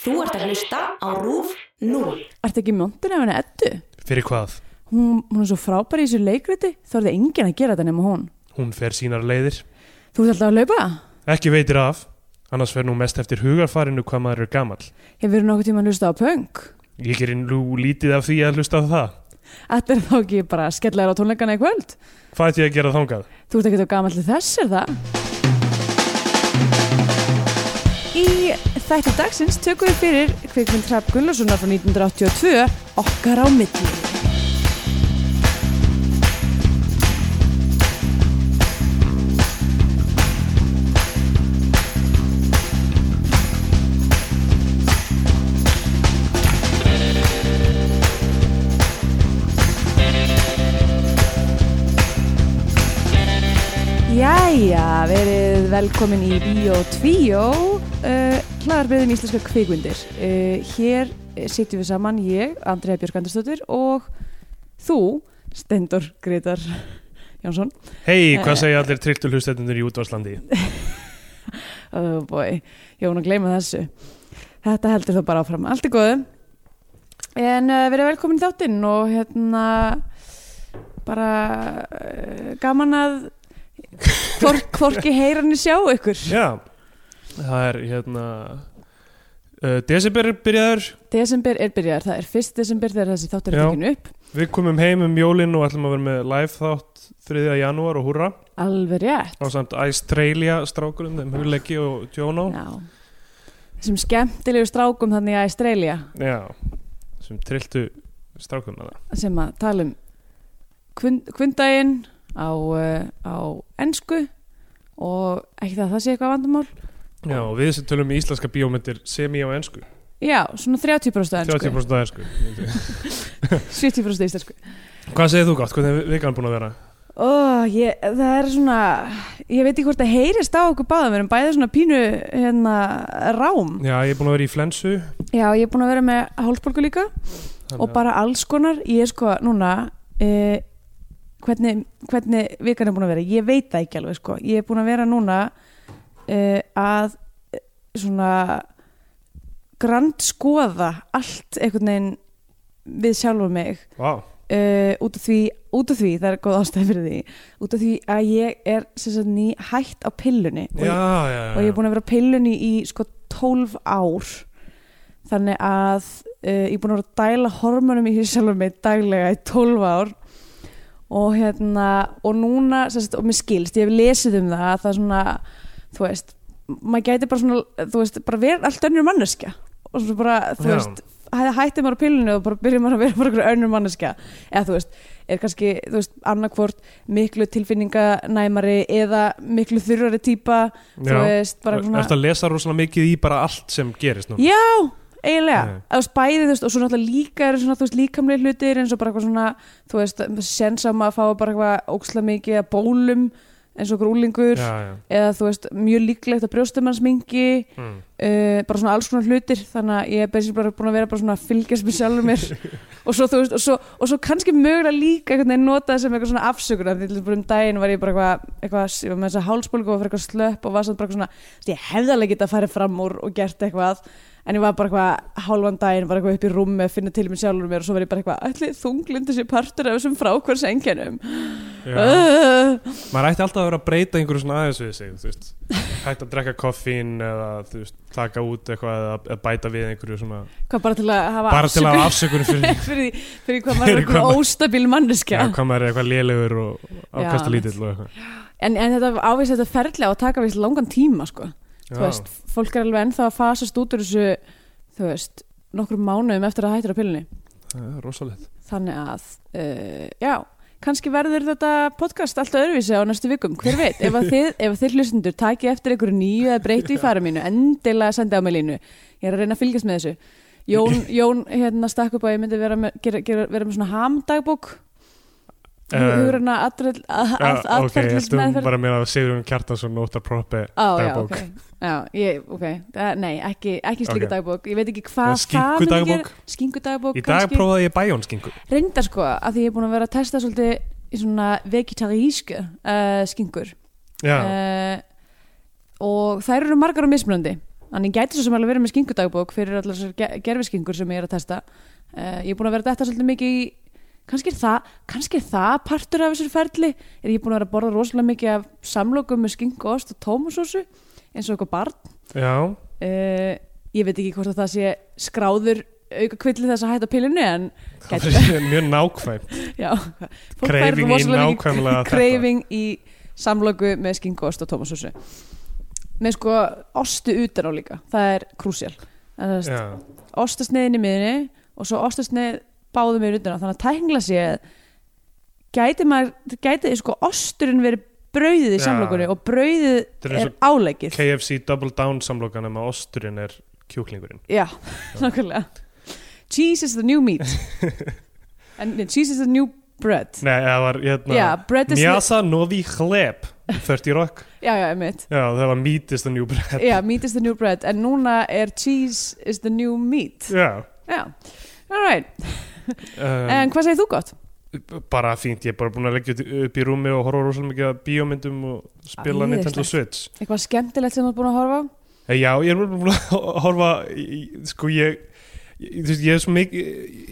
Þú ert að hlusta á RÚF 0. Ertu ekki mjóndur af henni Eddu? Fyrir hvað? Hún, hún er svo frábær í þessu leikriti, þá er það enginn að gera þetta nema hún. Hún fer sínar leiðir. Þú ert alltaf að laupa? Ekki veitir af, annars fer nú mest eftir hugarfarinu hvað maður er gamall. Hefur nokkuð tíma að hlusta á punk? Ég gerir nú lítið af því að hlusta á það. Þetta er þá ekki bara að skella þér á tónleikana í kvöld? Hvað ætti ég að gera þangað? Þú ert ekki að gama allir þess, er það? Í þætti dagsins tökum við fyrir kvikmynd Hrab Gunnlausonar frá 1982 okkar á milli. Jæja, verið velkomin í Bíó 2, uh, hlaðarbreyðum íslenska kvikmyndir. Uh, hér eh, sitjum við saman ég, Andrea Björk Andersdóttir og þú, Stendur Gretar Jónsson. Hei, Eh. hvað segja allir trilltu hlustendur í útvarslandi? Oh boy, ég vona að gleyma þessu. Þetta heldur þá bara áfram. Allt er góðu. En uh, verið velkomin í þáttinn og hérna bara uh, gaman að hvork, hvorki heyran í sjá ykkur. Já, það er hérna... Uh, Desiber er byrjaður, Desember er byrjar, það er 1. desember þegar þessi þáttur er Já. tekinu upp við komum heim um jólin og ætlum að vera með live þátt 3. janúar og húra Alveg rétt á samt Australia strákurum, þeim hugleggi og tjónó. Já Þessum skemmtilegu strákum þannig í Australia Já, sem trilltu strákurinn að það. sem að tala um kvindaginn á, uh, á ensku og ekki það að það sé eitthvað vandamál Já, Sko. og við sem tölum í íslenska bíómyndir semi á ensku, Já, svona 30% á ensku 30% á ensku. 70% íslensku Hvað segir þú gott? Hvernig er vikan búin að vera? Ó, ég, það er svona ég veit ekki hvort það heyrist á okkur báðum við erum bæðið svona pínu hérna, rám Já, ég er búin að vera í flensu. Já, ég er búin að vera með hálsbólgu líka þannig og að- bara alls konar ég er sko núna eh, hvernig, hvernig vikan er búin að vera ég veit það ekki alveg sko ég er búin að vera núna eh, að eh, svona grand skoða allt einhvern veginn við sjálfum mig Vá, uh, út, af því, út af því, það er góð ástæð fyrir því út af því að ég er sem sagt, ný hætt á pillunni og já, ég, já, já. og ég er búin að vera á pillunni í sko 12 ár þannig að uh, ég er búin að vera að dæla hormonum í sjálfur mig daglega í 12 ár og hérna og núna, sérst, og mér skilst, ég hef lesið um það að það er svona, þú veist maður gæti bara svona, þú veist bara verið allt önnur manneskja og svo bara, þú Já. veist, hæ- hætti maður á pillinu og bara byrja maður að vera bara einhver önnur manneskja eða þú veist, er kannski, þú veist annarkvort miklu tilfinninganæmari eða miklu þurrari típa þú Já. veist, bara svona Ertu að lesa rosalega mikið í bara allt sem gerist nú? Já, eiginlega Já. Þú veist, bæði, þú veist, og svo náttúrulega líka eru svona, þú veist, líkamlega hlutir eins og bara eitthvað svona þú veist, sensam að fá bara eitthvað óksla mikið að bólum eins og grúlingur Já, já. eða þú veist, mjög líklegt að brjóstum hans mingi Mm. uh, bara svona alls konar hlutir þannig að ég er basically bara búin að vera bara svona að fylgjast með sjálfur mér og svo þú veist, og svo, og svo kannski mögulega líka einhvern veginn notað sem eitthvað svona afsökun af því til bara um daginn var ég bara eitthvað, eitthvað ég var með þess að hálsbólgu og fyrir eitthvað slöpp og var samt bara eitthvað svona, þú veist, ég hefði alveg getað að fara fram úr og gert eitthvað en ég var bara eitthvað hálfan daginn, var eitthvað upp í rúmi að finna til mér sjálfur mér og svo var ég bara eitthvað ætli þunglindi sér partur af þessum frákværsengjanum Já. uh, Maður ætti alltaf að vera að breyta einhverju svona aðeins við sig, þú veist. Hægt að drekka koffín eða, þú veist, taka út eitthvað eða eða bæta við einhverju svona. hvað bara til að hafa Bara til að hafa afsökunum fyrir afsökun fyrir, því- fyrir hvað maður er Fyrir hvað eitthvað óstabil manneskja Já, hvað maður er eitthvað lélegur og afkasta lítill og eitthvað. En, en þetta ávist þetta ferli á að taka við langan tíma sko. Já. þú veist, fólk er alveg ennþá að fasast út úr þessu, þú veist nokkrum mánuðum eftir að hættir á pillinni Það er rosalegt. þannig að, uh, já kannski verður þetta podcast alltaf öðruvísi á næstu vikum, hver veit, ef að þið, ef að þið hlustundur taki eftir einhverju nýju eða breytu í fara mínu, endilega sendi á mig línu ég er að reyna að fylgjast með þessu Jón, Jón hérna stakk upp á að ég myndi vera með, gera, gera, vera með svona hamdagbók Eh, hugur hana aðferðlis Já, ok, ég stum bara meira að Sigurðum Kjartansson og Óttar Proppi Á, já, dagbók. ok, já, ég, ok, uh, nei, ekki, ekki slíka Ok. dagbók, ég veit ekki hvað En skinkudagbók? skinkudagbók Í dag prófaði ég bæjónskingu. reyndar sko, að því ég er búin að vera að testa svolítið í svona vegetarísku uh, skinkur Eh, Já, uh, og þær eru margar og mismunandi Þannig ég gæti svo sem alveg verið með skinkudagbók fyrir allar þessar gerfiskingur sem ég er að testa. Uh, ég er búin að vera þetta svolítið mikið í, kannski er það, kannski er það partur af þessar ferli, er ég búin að vera að borða rosalega mikið af samlokum með skinku, ost og tómusósu eins og eitthvað barn. Já, Uh, ég veit ekki hvort að það sé skráður auka kvilli þess að hætta pillinu en það Gæti- er mjög nákvæmt já, fólk fær Kreifing í rosalega mikið nákvæmlega þetta kreifing í samlöku með skingu, ost og tómasósu með sko ostu utan á líka það er krúsjál Já, ostasneiðin í miðinni og svo ostasneið báðum við utan á þannig að tækla séð gæti maður gæti sko osturinn verið brauðið í Já. samlökunni og brauðið Þetta er eins er áleggið KFC Double Down samlokan um að osturinn er kjúklingurinn já, nákvæmlega cheese is the new meat en nei, cheese is the new bread Nei, það var hérna já, bread is the Mjasa novi hleb 30 rock já, já, einmitt Já, það var meat is the new bread Já, meat is the new bread en núna er cheese is the new meat Já, Já, alright um, En hvað segir þú gott? ehm, bara fínt, ég er bara búin að leggja ut- upp í rúmi og horfa rosalega mikið að bíómyndum og spila Æðislegt. Nintendo Switch Eitthvað skemmtilegt sem þú er búin að horfa á? Eh, Já, ég er bara búin að horfa í- í- sko ég Ég, þú veist, ég, er svo mik-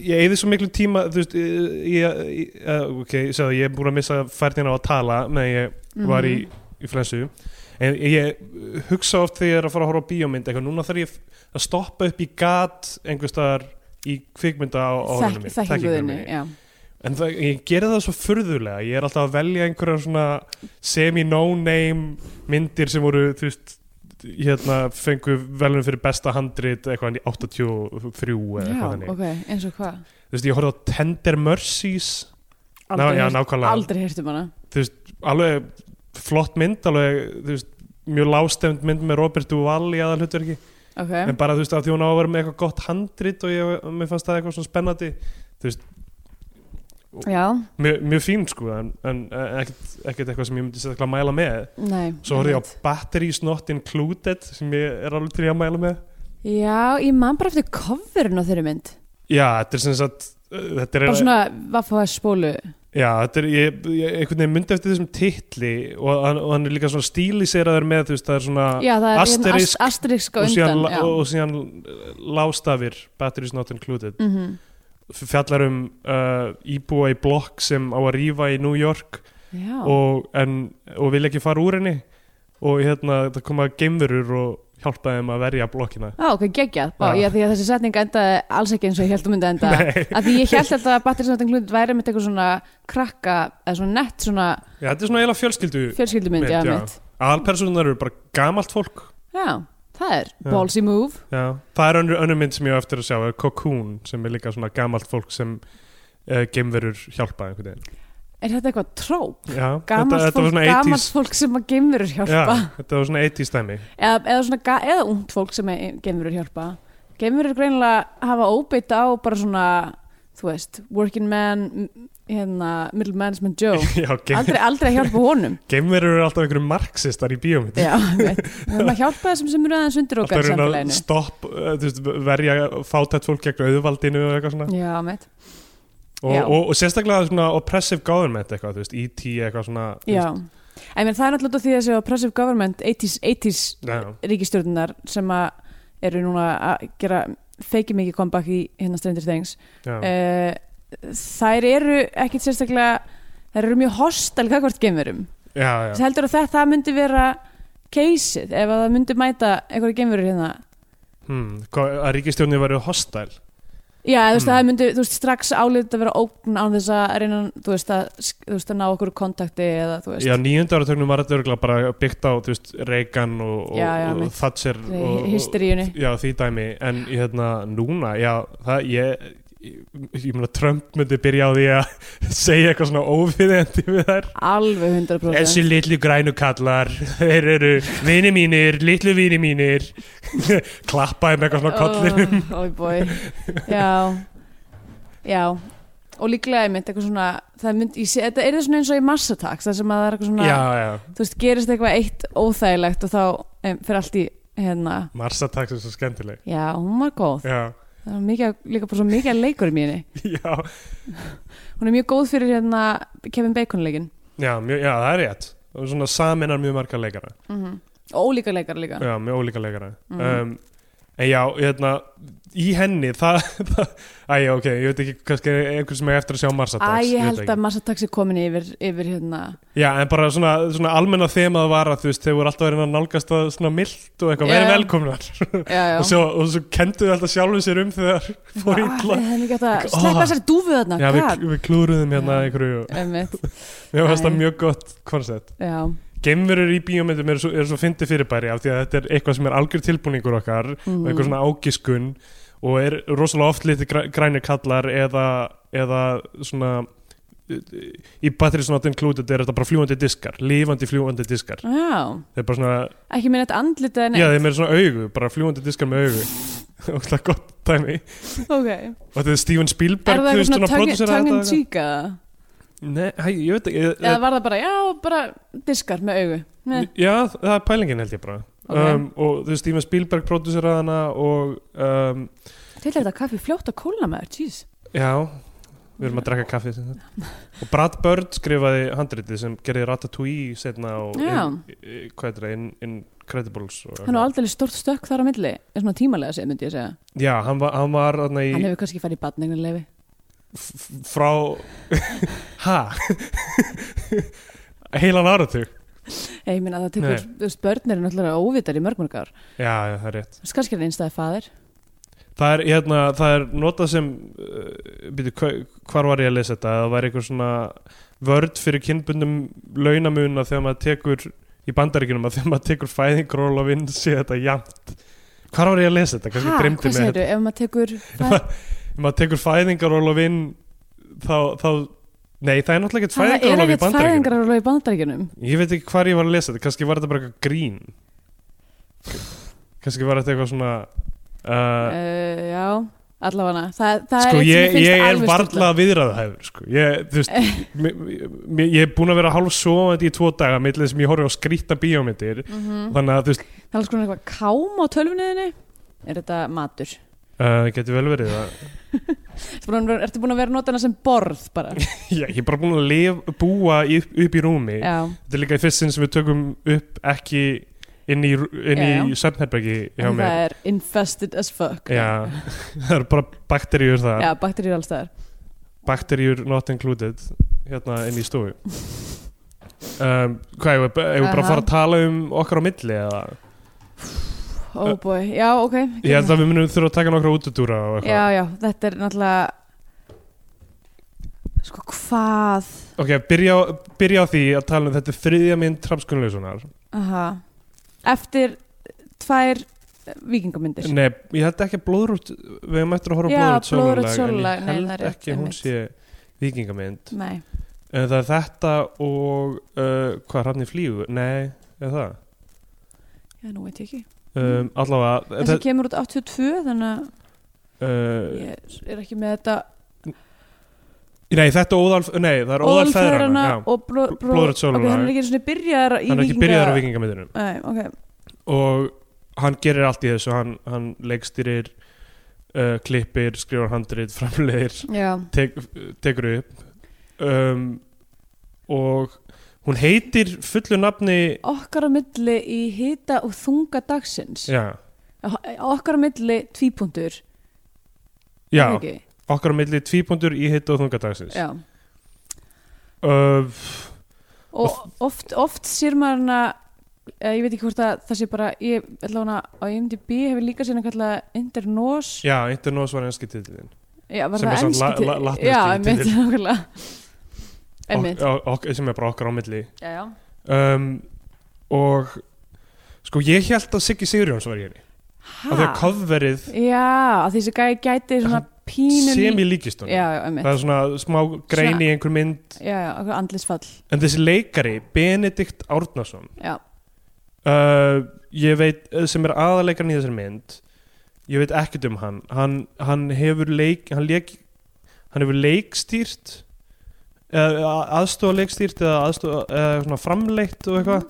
ég eði svo miklu tíma þú veist, eh, ég, ég, eh, ok, sagði, ég er búin að missa færðina á að tala meðan ég var Mhm. í, í flensu en ég hugsa oft þegar ég er að fara að horfa á bíómynd eitthvað, núna þarf ég að stoppa upp í gat einhvers staðar í kvikmynda á Þekk- orðinu Þekkinguðinni já. en það, ég geri það svo furðulega ég er alltaf að velja einhverjar svona semi-no-name myndir sem voru þú veist hérna fengu velum fyrir besta handrit eitthvað í 83 já, eða eitthvað þannig ok, eins og hvað? þú veist ég horfði á Tender Mercies Ná, Aldrei, já, heyrt- nákvæmlega aldrei hirtum hana alveg flott mynd alveg þú veist mjög lágstefnd mynd með Robert Duvall í aðalhutverki Ok, en bara þú veist að því hún á að vera með eitthvað gott handrit og ég, mér fannst það eitthvað svona spennandi já, mjög, mjög fín sko en, en eh, ekkert, ekkert eitthvað sem ég myndi sérstaklega mæla með nei svo horfði ég á einmitt. Batteries Not Included sem ég er alveg til í að mæla með Já, ég man bara eftir coverun á þeirri mynd já þetta er sem sagt eh, þetta er, Bara svona, hvað fóða spólu já, þetta er ég, ég, einhvern veginn myndi eftir þessum titli og hann, og hann er líka svona stíliseraður með þú veist það er svona Já, það er hérna Asterisk ast- asterisk á og síðan, undan la- já. og síðan eh, lástafir Batteries Not Included Mhm. fjallar um uh, íbúa í blokk sem á að rífa í New York Já, og, en, og vil ekki fara úr henni og hérna það koma geimverur og hjálpa þeim að verja blokkina Á, ok, geggjað, Bá, já, Já. því að þessi setning endaði alls ekki eins og ég held að myndi enda Nei, að því ég held alltaf að batterisnáttan hlut væri með eitthvað svona krakka eða svona nett svona ja, þetta er svona eiginlega fjölskyldu fjölskyldumynd Mynd, já, já. mitt. aðalpersonar eru bara gamalt fólk já, það er Já. ballsy move já. það er önnur, önnur mynd sem ég á eftir að sjá er Cocoon sem er líka svona gamalt fólk sem uh, geimverur hjálpa einhvern veginn er þetta eitthvað tróp? já, Gamalt þetta, þetta fólk, var svona gamalt 80s fólk sem að geimurur hjálpa Já, þetta var svona 80s dæmi eða, eða, svona, ga- eða ungt fólk sem geimurur hjálpa geimurur greinilega hafa óbeitt á bara svona, þú veist working man, m- hérna middle management Joe, Já, geim, aldrei, aldrei að hjálpa honum geimverur eru alltaf einhverjum marxistar í bíómynd já, veit, við erum að hjálpa þessum sem eru aðeins undir alltaf okkar eru að samfélaginu stopp uh, þú veist, verja fátætt fólk gegn auðvaldinu og eitthvað svona já, mitt og, Já. og, og sérstaklega svona oppressive government eitthvað, þú veist, E.T. eitthvað svona þú Já, en það er náttúrulega út af því að þessi oppressive government 80s, 80s veist, ríkistjórnar sem að eru núna að gera feiki mikið comeback í hérna Stranger Things já, já, uh, þær eru ekkit sérstaklega þær eru mjög hostal kakvart geimurum já, já. þess heldur að það, það myndi vera keysið ef að það myndi mæta einhverja geimurur hérna Hmm, hvað- að ríkistjóni væri hostile Já, þú veist, Mm. það myndi, þú veist, strax álítið að vera ógn án þess að reyna, þú veist, að, þú veist, að ná okkur kontakti eða, þú veist, já, nýjönda áratögnum var þetta örgulega bara byggt á þú veist, Reagan og, og, Já, já, og mitt. Thatcher og, í og- hysteríunni. já, því dæmi, en hérna núna, já, það ég ég, ég meina Trump myndi byrja á því að segja eitthvað svona ófiðendi við þær Alveg 100%. Þessi litlu grænu kallar, þeir eru vini mínir, litlu vini mínir klappaði með eitthvað svona kollinum Ó, Ói bói, Oh, já Já Og líklega einmitt eitthvað svona það mynd, ég sé, Þetta er svona eins og í massatax Það sem að það er eitthvað svona Já, já, Þú veist, gerist eitthvað eitt óþægilegt Og þá um, fyrir allt í hérna Marsatax er svo skemmtileg Já, hún var góð Já, Það var mikið, líka bara svo mikið að leikur í mínni já, Hún er mjög góð fyrir hérna Kevin Bacon leikin já, mjög, já það er rétt og svona saminar mjög marga leikara mm -hmm. og ólíka leikar líka já, með ólíka leikara Mhm. um, en já, hérna í henni, það æja, ok, ég veit ekki, kannski er einhver sem er eftir að sjá Marsatax Æ, ég held að massataxi komin yfir, yfir hérna já, en bara svona, svona almenna þemað var að þú veist, þeir voru alltaf verið að nálgast það svona mild og eitthvað, Já. verið velkomnar já, já. og svo, og svo kendu þau alltaf sjálfum sér um þegar fór ítla Það er ekki hægt að Ó. sleppa þessari dúfu þarna já, við, gat. við klúruðum hérna Já. einhverju og Einmitt, mér fannst það Æ. mjög gott koncept já, geimverur í bíómyndum eru svo, er svo fyndi fyrirbæri af því að þetta er eitthvað sem er algjör tilbúningur okkar og mhm. einhver svona ágiskun og er rosalega oft litið græ- grænir kallar eða, eða svona í batterið svona included er þetta bara fljúandi diskar lífandi fljúandi diskar já, þeir bara svona, ekki minn eitt andlit en já þeir eru svona augu bara fljúandi diskar með augu og það er gott dæmi ok, og þetta er Steven er það Spielberg þú eitthvað veist, svona tongue- producer að tongue in þetta- cheek eða? Nei, hæ, ég veit ekki eða ég, var það bara, já, bara diskar með augu Nei. Já, það er pælingin held ég bara Ok. um, og þú veist, Steven Spielberg producer að hana og um, til er þetta kaffi fljótt að kólna með þér, jeez Já, við erum að drekka kaffi sem sagt. og Brad Bird skrifaði handritið sem gerði Ratatouille setna og Já. in, í- hvað er það, in, Incredibles og, hann á aldrei stort stökk þar á milli er svona tímalega séð, myndi ég segja Já, hann var, hann var þarna í, hann hefur kannski farið í badnegnarlefi f- f- frá ha heilan áratug ég minna að það tekur, Nei. þú veist, börn eru náttúrulega óvitar í mörg mörg ár Já, já, það er rétt Þess kannski er það einstæði faðir Það er, hérna, það er notað sem uh, býtu, hva- hvar var ég að lesa þetta það var einhver svona vörd fyrir kynbundum launamuna þegar maður tekur í bandaríkinum að þegar maður tekur fæðingról og vinn sé þetta jafnt hvar var ég að lesa þetta, kannski dreymdi hvað með segirðu, ef maður tekur þetta ef maður tekur fæðingaról og vinn þá, þá, nei það er náttúrulega ekkert það er fæðingaról í ekkert bandaríkinum fæðingarálof í bandaríkjunum ég veit ekki hvar ég var að lesa þetta, kannski var þetta bara eitthvað grín kannski var þetta eitthvað svona uh, uh, já, allavega það, það er sko, eitt ég, sem ég er finnst alveg varla viðræðahæfur sko. ég, þú veist, mi- mi- ég er búin að vera hálf sofandi í tvo daga millir sem ég horfi á skrýtta bíómyndir Mm-hmm. Mm. þannig að þú veist, það er alls konar eitthvað kám á tölvunniðinni er þetta matur uh, getur vel verið að ertu búin að, ertu búin að vera að nota hana sem borð bara ég, ég er bara búin að lef, búa upp, upp í rúmi já, þetta er líka í fyrst sinn sem við tökum upp ekki inn í, rú- inn í Já, já. svefnherbergi hjá en það mér er infested as fuck Já, það eru bara bakteríur það já bakteríur alls staðar bakteríur not included hérna inn í stofu um, hvað, eigum við eigum við bara að Aha. fara að tala um okkar á milli eða oh boy, já ok Ég held að við munum þurfa að taka nokkra útudúra og já, eitthvað. já, þetta er náttúrulega sko hvað Ok, byrja, á- byrja á því að tala um þetta er þriðja mynd Traps Gunnlausonar. aha, eftir tvær vikingamyndir Nei, ég held ekki að blóðrút, við hefum eftir að horfa á Já, blóðrút Blóðrút sjónulag, sjónulag, en nei, það ég er held rétt, ekki að hún einmitt. sé vikingamynd. nei, En það er þetta og, uh, hvað, Hrafni flýgur? Nei, er það? já nú veit ég ekki Um, allavega, þessi það, kemur út 82 þannig að uh, ég er ekki með þetta nei, þetta óðalf, nei, það er óðalf feðrana, já. og bló, bló, Blóðrödd sólarlag. ok, hann er ekki einu sinni byrjaðar í Hann er ekki Víkinga- byrjaður á vikingamyndunum. Nei, ok, og hann gerir allt í þessu hann, hann leikstýrir uh, klippir, skrifar handrit, framleiðir já, tek, tekur upp um, og hún heitir fullu nafni okkar á milli í hita og þunga dagsins já, okkar á milli tvípuntur já er það ekki? okkar á milli tvípundur í hitt og þungadagsins já. uh, og oft, oft sér maður hana eh, ég veit ekki hvort að það sé bara ég ætla hana á IMDb hefur líka sér hann kallað Internos já, Internos var enski titlin já, var sem er það samt enski la- la- latneski já, titill. einmitt, nákvæmlega einmitt, ok, ok, sem er bara okkar á milli já, já um, og sko ég held að Siggi Sigurjóns var í henni að það er ha, kofverið já, að þessi gæi gæti svona Hann pínu sem lí- í líkistunum já, já, einmitt það er svona smá grein Svona- í einhver mynd já, já, okkur andlisfall en þessi leikari, Benedikt Árnason já, uh, ég veit, eh, sem er aðaleikarinn í þessari mynd ég veit ekkert um hann hann, hann hefur leik hann, leik hann hefur leikstýrt eða aðstofa leikstýrt eða aðstofa eða svona framleitt og eitthvað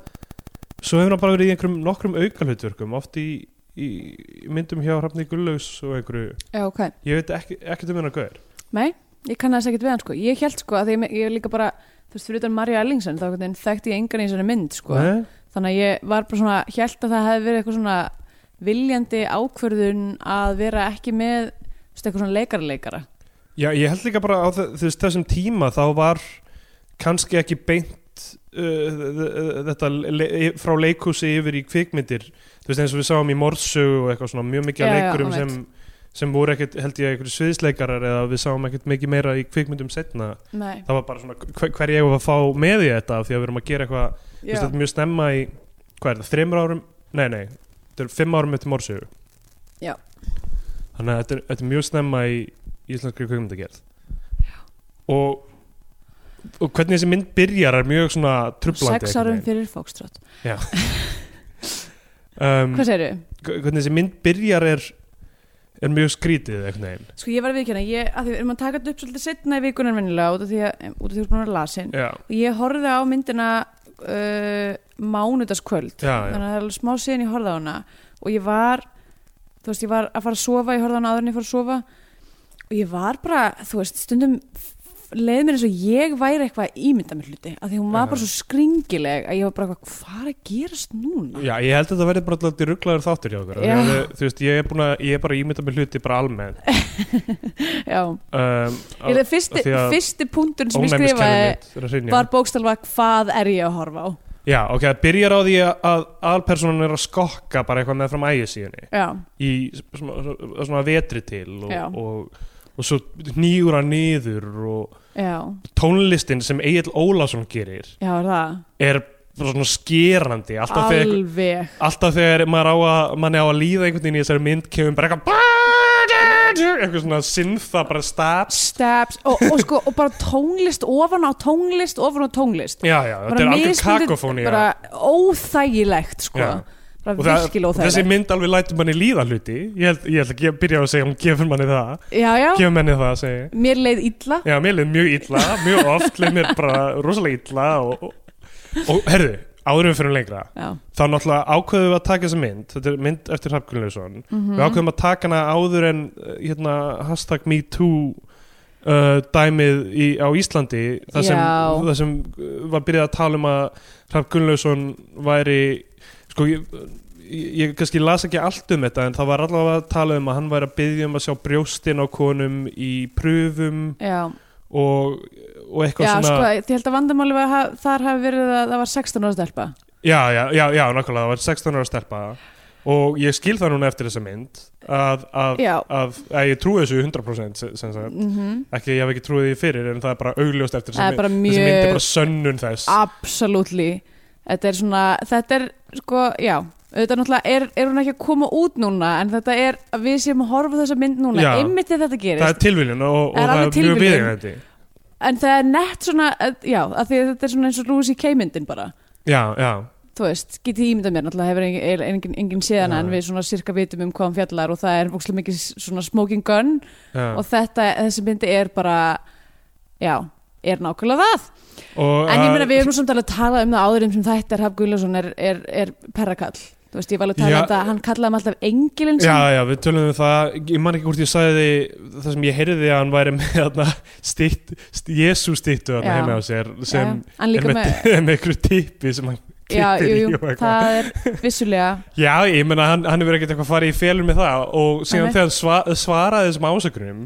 svo hefur hann bara verið í einhverjum nokkrum aukalhutverkum oft í, í í myndum hjá Hrafni Gullaus og einhverju já, ok ég veit ekki, ekkert um hennar gauðir nei, ég kannaðis ekkert við hann sko ég held sko að ég, ég líka bara þú veist, fyrir utan Marja Ellingsen þá einhvern veginn þekkti ég engan í þessari mynd sko Nei? þannig að ég var bara svona hjælt að það hefði verið eitthvað svona viljandi ákvörðun að vera ekki með þú veist, eitthvað svona leikarleikara Já, ég held líka bara á þe- þú veist, þessum tíma þá var kannski ekki beint uh, þ- þ- þetta le e, frá leikhúsi yfir í kvikmyndir þú veist eins og við sáum í Morsug og eitthvað svona mjög mikið Já, af já, leikurum einmitt. sem, sem voru ekkert held ég einhverju sviðsleikarar eða við sáum ekkert mikið meira í kvikmyndum setna Nei, það var bara svona hver, hver ég var að fá með í þetta af því að við erum að gera eitthvað þú veist, þetta er mjög snemma í, hvað er það, þreymur árum nei, nei, þetta er fimm árum eftir Morsug Já. þannig að þetta er, þetta er mjög snemma í íslenskri kvikmyndagerð og, og hvernig þessi mynd byrjar er mjög svona trublandi sex árum fyrir Foxtrot um, Hvað segirðu? hvernig þessi mynd byrjar er er mjög skrítið einhvern veginn Sko ég var að viðkjöna, ég, að því við erum að taka þetta upp svolítið setna í vikunan venjulega út af því að út af því að þú erum búin að vera lasin já, og ég horfði á myndina uh, mánudaskvöld já, já, þannig að það er alveg smá síðan ég horfði á hana og ég var, þú veist, ég var að fara að sofa ég horfði á hana áður en ég fór að sofa og ég var bara, þú veist, stundum f- leið mér eins og ég væri eitthvað að ímynda mér hluti, af því hún var Já. bara svo skringileg að ég var bara eitthvað, hvað er að gerast núna? já, ég held að þetta verði bara alltaf rugglaður þáttur hjá okkur Já. Þú, þú veist, ég er, búin að, ég er bara að ímynda með hluti bara almennt Já, um, ég það fyrsti, því að fyrsti punktun sem ég ónæmiskerfið skrifaði mitt er að hrynja. var bókstalva hvað er ég að horfa á? Já, ok, það byrjar á því að alpersonan er að skokka bara eitthvað með fram ægisíðunni Já, í svona, svona vetri til og, Já. og, og svo nýjur hann niður og já, tónlistin sem Egil Ólafsson gerir já, er það er bara svona skerandi alltaf þegar, Alveg alltaf þegar maður á að, mann á að líða einhvern veginn í þessari mynd kemur bara eitthvað eitthvað svona sinþa bara stabs Stabs og, og sko, og bara tónlist ofan á tónlist, ofan á tónlist Já, já, þetta er algjör mismunandi- kakofónía Bara óþægilegt sko Já. Bara Og það- virkilega og þessi óþægilegt mynd alveg lætur manni líða hluti ég held, ég held að ge- byrja á að segja hún gefur manni það Já, já, gefur manni það að segja mér leið illa já, mér leið mjög illa, mjög oft leið mér bara rosalega illa og, og herðu, áður en við fyrir lengra Já, þá náttúrulega ákveðum við að taka þessa mynd þetta er mynd eftir Hrafngunnlauson Mhm. við ákveðum að taka hana áður en uh, hérna, hashtag me too uh, dæmið í, á Íslandi það sem, Já. það sem uh, var byrjað að tala um að Hrafngunnlauson væri sko ég, ég, ég kannski las ekki allt um þetta en það var allavega að tala um að hann væri að byggja um að sjá brjóstin á konum í pröfum já, og, og eitthvað já svona sko, ég held að vandamáli var, að ha- þar hafi verið að það var 16 ára stelpa Já, já, já, já, nákvæmlega, það var 16 ára stelpa og ég skil það núna eftir þessa mynd að, að, Já, að, að ég trúi þessu 100% sem, sem sagt, mhm ekki ég hef ekki trúið því fyrir en það er bara augljóst eftir þessa Það er mynd bara þessi mynd er mjög bara sönnun þess Absolutely Þetta er svona, þetta er sko, já auðvitað náttúrulega er, er hún ekki að koma út núna en þetta er að við séum að horfa á þessa mynd núna Já. einmitt þegar þetta gerist það er tilviljun og, og Það er það alveg er mjög tilviljun. viðeigandi en það er nett svona, að, já, að því að þetta er svona eins og Lucy K. myndin bara Já, já, þú veist, getið ímyndað mér, náttúrulega hefur engin, engin, engin séðan en Nei. við svona sirka vitum um hvað hann fjallar og það er fókslega mikið s- svona smoking gun já. og þetta, þessi myndi er bara já, er nákvæmlega það Og en ég meina að- við erum nú samt alveg að tala um það áður um sem þættir Haf Gullason er, er, er perrakall þú veist, ég var alveg að tala Já. um þetta, hann kallaði hann alltaf engilinn Já, sinn. já, við tölum um það, ég man ekki hvort ég sagði því það sem ég heyrði að hann væri með þarna stýtt, Jésu stýttu þarna Já. heima á sér Já, sem hann er líka með, með með, með ykkur tippi sem hann já, klippir jú, í jú, og eitthvað. það er vissulega Já, ég meina hann, hann hefur ekkert eitthvað farið í félum með það og síðan Nei. þegar hann sva, svaraði þessum ásökunum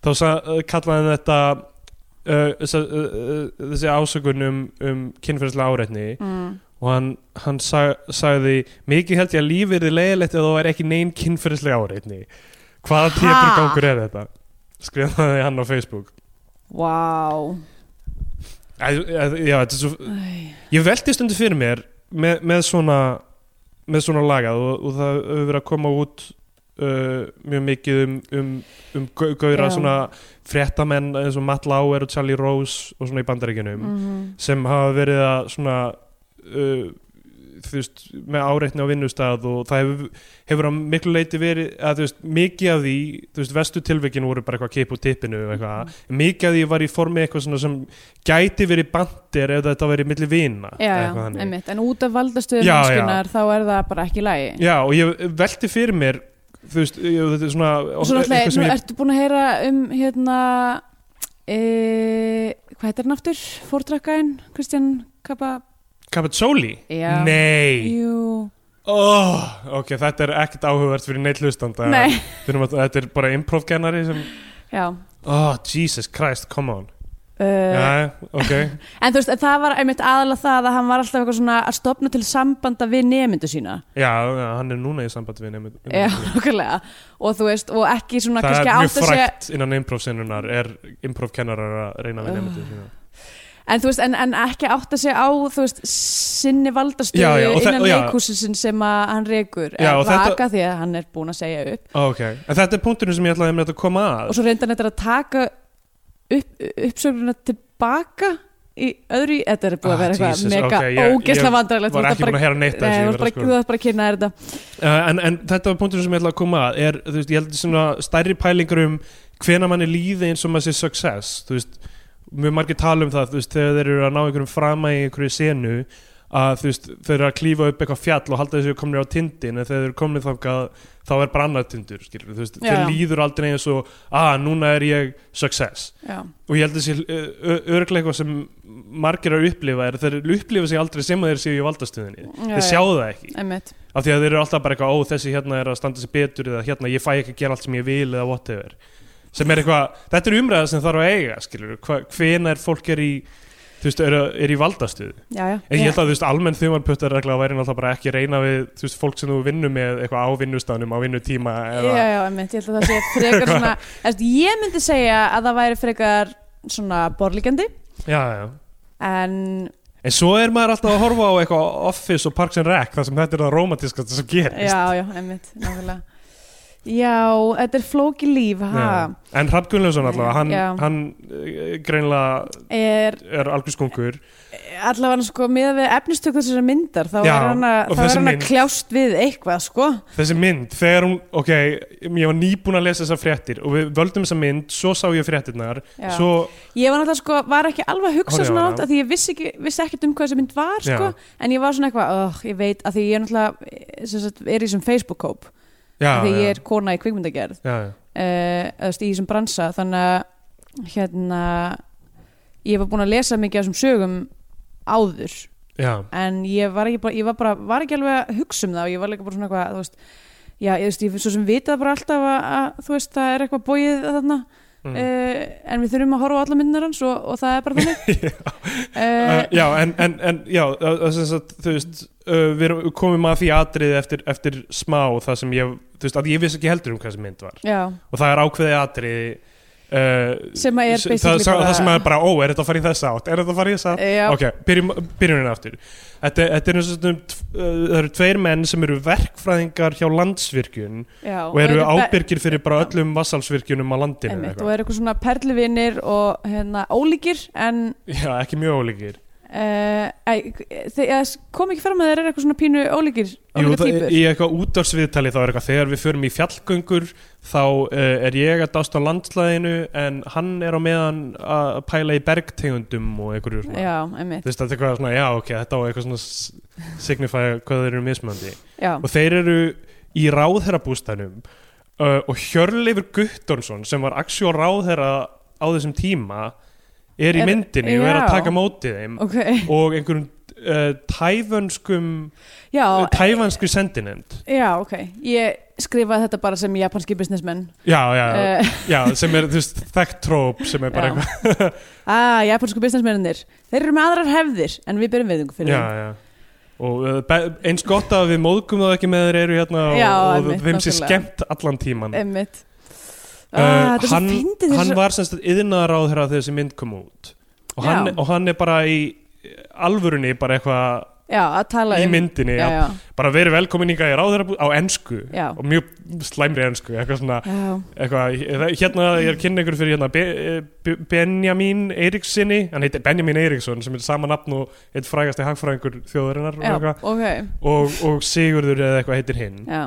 þá sa, uh, kallaði hann þetta uh, þessa, uh, uh, þessi ásökun um, um kynferðislega áreitni mm. og hann, hann sag, sagði mikið held ég að lífið er leiðilegt ef það væri ekki neinn kynferðislega áreitni hvaða Ha? típur gangur er þetta? skrifaði hann á Facebook wow Æ, æ, Já, þetta er svo Æ, Ég veldi stundu fyrir mér með, með svona með svona lagað og, og það hefur verið að koma út uh, mjög mikið um, um, um gau- gaura Já. svona fréttamenn eins og Matt Lauer og Charlie Rose og svona í bandaríkjunum mhm. sem hafa verið að svona uh, þú veist, með áreitni á vinnustad og það hefur, hefur að miklu leiti verið að þú veist, mikið af því þú veist, vestu tilvikin voru bara eitthvað kip úr tippinu og eitthvað, Mhm. mikið af því var í formi eitthvað svona sem gæti verið bandir ef þetta verið milli já, vina eða já, eitthvað þannig. einmitt, en út af valdastöðum Já, mennskunar þá er það bara ekki í lagi Já, og ég velti fyrir mér þú veist, ég, þetta er svona og svo e- eitthvað náttúrulega, sem nú ég- ertu búin að heyra um hérna e, hvað heitir hann aftur? Fordrakkaðin, Kristján Kappa Capazzoli? Já. Nei Jú, oh, Ok, þetta er ekkert áhugavert fyrir neitt hlustanda nei Þurfum að, Þetta er bara improvkennari sem Já Oh, Jesus Christ, come on uh, Já, ok En þú veist, en það var einmitt aðalega það að hann var alltaf eitthvað svona að stopna til sambanda við nemyndu sína Já, hann er núna í sambandi við nefnum Já, okkurlega Og þú veist, og ekki svona Mm. Það kannski er mjög átt að segja frægt innan improvsinnunar er improvkennarar að reyna Ah. við nefndu sína En þú veist, en, en ekki átt að segja á, þú veist, sinni valdastöðu Já, já, og þe- innan og já. leikúsinsinn sem að hann rekur Já, og eða þetta- vaka því að hann er búin að segja upp Ok, en þetta er punkturinn sem ég ætlaði með þetta að koma að og svo reyndan þetta að taka upp, uppsögnuna tilbaka í öðru, í- þetta er búið að Ah, vera eitthvað Jesus, mega ok, okay, ég- ógesla ég vandræðilegt var ekki búin að heyra neitt af þessu, ég Nei, þú verð ert að bara, sko- þú ert bara að kynna þér þetta Uh, en, en þetta var punkturinn sem ég ætlaði að koma að er, þú veist, ég held svona stærri pælingur um hvena manni líði eins og maður sé success þú veist, mjög margir tala um það þú veist, þegar þeir eru að ná einhverjum frama í einhverju senu að þú veist, þeir eru að klífa upp eitthvað fjall og halda þessu komnir á tindin en þegar þeir eru komnir þangað þá er bara annar tindur skilur, þú veist, Já. þeir líður aldrei eins og að núna er ég success Já, og ég held að þessi örglega eitthvað sem margir eru að upplifa er að þeir upplifa sig aldrei sem að þeir séu í valdastuðinni Já, þeir já. sjá það ekki einmitt af því að þeir eru alltaf bara eitthvað ó þessi hérna er að standa sér betur eða hérna ég fæ ekki að gera allt sem ég vil eða whatever sem er eitthvað, þetta er umræða sem þarf að eiga skilur, hvenar fólk er í þú veist, er, er í valdastuð en Já, já ég held að þú veist, almenn þumarputtar regla væri náttúrulega bara ekki að reyna við, þú veist, fólk sem þú vinnur með eitthvað á vinnustanum, á vinnutíma eða, Já, já, einmitt, ég held að það sé frekar svona eftir, Ég myndi segja að það væri frekar svona borlíkjandi já, já en en svo er maður alltaf að horfa á eitthvað Office og Parks and Rec, þar sem þetta er það romantiskast sem gerist já, já, einmitt, nákvæmlega Já, þetta er flóki líf, ha Já. en Hrafn Gunnlaugsson alltaf, hann, Mm, Já. hann eh, greinlega Er er algjörskungur allavega sko miða við efnistöku þessari myndar þá Já, er hann að, og þá er þessi hann að mynd. kljást við eitthvað sko Þessi mynd, þegar hún, ok, ég var nýbúin að lesa þessar fréttir og við völdum þessa mynd, svo sá ég fréttirnar, Já. svo, ég var náttúrulega sko, var ekki alveg að hugsa Horfði á svona hana. átt að því ég vissi, ekki, vissi ekkert um hvað þessi mynd var sko, en ég var svona eitthvað, oh, ég veit að því ég er náttúrulega sem sagt, er í þessum Facebook-kóp já, að því já, ég er kona í kvikmyndagerð uh, já, já, eða þú veist, í þessum bransa þannig að hérna ég var búin að lesa mikið af þessum sögum áður já, en ég var ekki, bara, ég var bara, var ekki alveg að hugsa um það og ég var líka bara svona eitthvað þú veist, já, ég, þú veist, ég svo sem vitað bara alltaf að, að þú veist, það er eitthvað bóið þarna, Mm. uh, en við þurfum að horfa á alla myndunar hans og, og það er bara þannig uh, uh, já, en, en, en, já, það það sem sagt, þú veist, uh, við erum- komum að því atriði eftir, eftir smá það sem ég, þú veist, að ég vissi ekki heldur um hvað þessi mynd var já, og það er ákveðið atriði, uh, Sem að er s- það, basically sá- bara- Eh, það sem er bara, ó, er þetta að fara í þessa átt, er þetta að fara í þessa átt? já, Ok, byrjum, byrjum hérna aftur Þetta, þetta er eins og stundum tv- uh, Það eru tveir menn sem eru verkfræðingar hjá landsvirkjun já og eru þetta- ábyrgir fyrir bara öllum vassalsvirkjunum á landinu eða einmitt, eitthvað. og eru eitthvað svona perluvinir og hérna, ólíkir en Já, ekki mjög ólíkir uh, þegar kom ekki fram að þeir eru eitthvað svona pínu ólíkir Jú, ólíkar það, týpur í eitthvað útdórsviðtali þá er eitthvað þegar við förum í fjallgöngur þá uh, er ég að dást á landslæðinu en hann er á meðan að pæla í bergtegundum og einhverju svona já, einmitt, Þú veist, þetta er eitthvað svona, já, ok, þetta á eitthvað svona s- signify hvað þeir eru mismöndi já, og þeir eru í ráðherrabústænum uh, og Hjörleifur Guttormsson sem var aksjó ráðherra á þessum tíma er í Er- myndinni og er að já. taka mótið þeim ok og einhverjum uh, tæfönskum já, uh, tæfanskri sendinend Já, ok. Ég skrifaði þetta bara sem japanski businessman. já, já, Uh, já, sem er þú veist, þekkt tróp sem er bara Já. ah, japansku businessmennir. Þeir eru með aðrar hefðir, en við berum veiðingu eitthvað fyrir já, þeim. já. og uh, be- eins gott að við móðgum það ekki með þeir eru hérna og, Já, og einmitt, þeim sé nákvæmlega. skemmt allan tíman Emmitt. Uh, Ah, þetta er hann, svo fyndið hann þessu. var semst yðnaráð þegar þessi mynd kom út og hann, Já. og hann er bara í alvörunni bara eitthvað Já, að tala í um. myndinni Já, já. bara verið velkomin hingað í ráðherra á ensku Já. og mjög slæmri ensku eitthvað svona já. eitthvað, hérna ég er kynna ykkur fyrir hérna Be Be Benjamin Eirikssoni hann heitir Benjamin Eiriksson sem er sama nafn og eitt frægasti hagfræðingur þjóðarinnar og, Já, eitthvað. ok. og, og Sigurður eða eitthvað heitir hinn Já,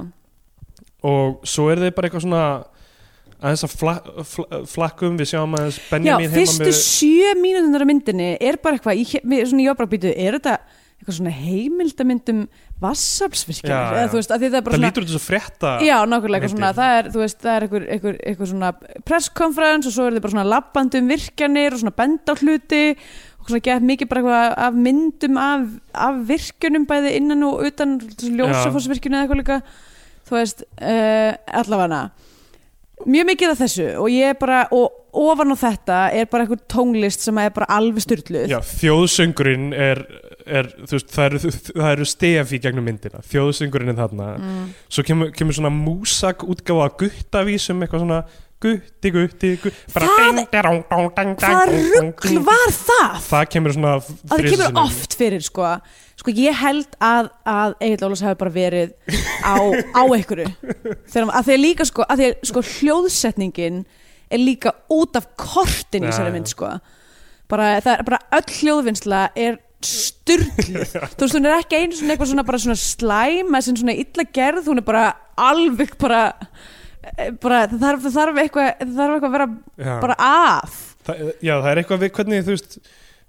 og svo er þeir bara eitthvað svona aðeins að fla, fla, flakkum við sjáum aðeins já Benjamin heima fyrstu með sjö mínútunar á myndinni er bara eitthvað, ég, hef- mér- svona ég var bara býtu, er þetta, eitthvað svona heimildamyndum vassaflsvirkjar Já, já. eða þú veist, að því það er bara það svona lítur út þessu frétta Já, nákvæmlega, eitthvað Myndir. svona, það er, þú veist, það er einhver, einhver, einhver svona presskonferens og svo er þið bara svona labbandi um virkjanir og svona benda á hluti og svona gett mikið bara eitthvað af myndum af, af virkjunum bæði innan og utan ljósafossvirkjunum eða eitthvað líka þú veist, uh, allavega mjög mikið af þessu og ég er bara, og ofan á þetta er bara einhver tónlist sem er bara alveg styrluð Já, þjóðsöngurinn er, er þú veist, það eru, það eru stef í gegnum myndina, þjóðsöngurinn er þarna Mm. svo kemur, kemur svona músak útgáfa að guttavísum, eitthvað svona gutti, gutti, gutti bara Það- ding, derong, dong, dang, dang, Hvað dong, dong, rugl ding. var það? það kemur svona að það þrisvar kemur sinnum. oft fyrir sko sko ég held að, að Egil Ólafs hefur bara verið á, á einhverju þegar að því að líka sko að því að sko hljóðsetningin er líka út af kortin í Já, þessari já. mynd sko bara, það er bara öll hljóðvinnsla er styrluð þú veist hún er ekki einu svona eitthvað svona bara svona slæm eða sem svona illa gerð hún er bara alveg bara eh, bara það þarf, það þarf eitthvað það þarf eitthvað að vera Já. bara að Það, já, það er eitthvað við hvernig þú veist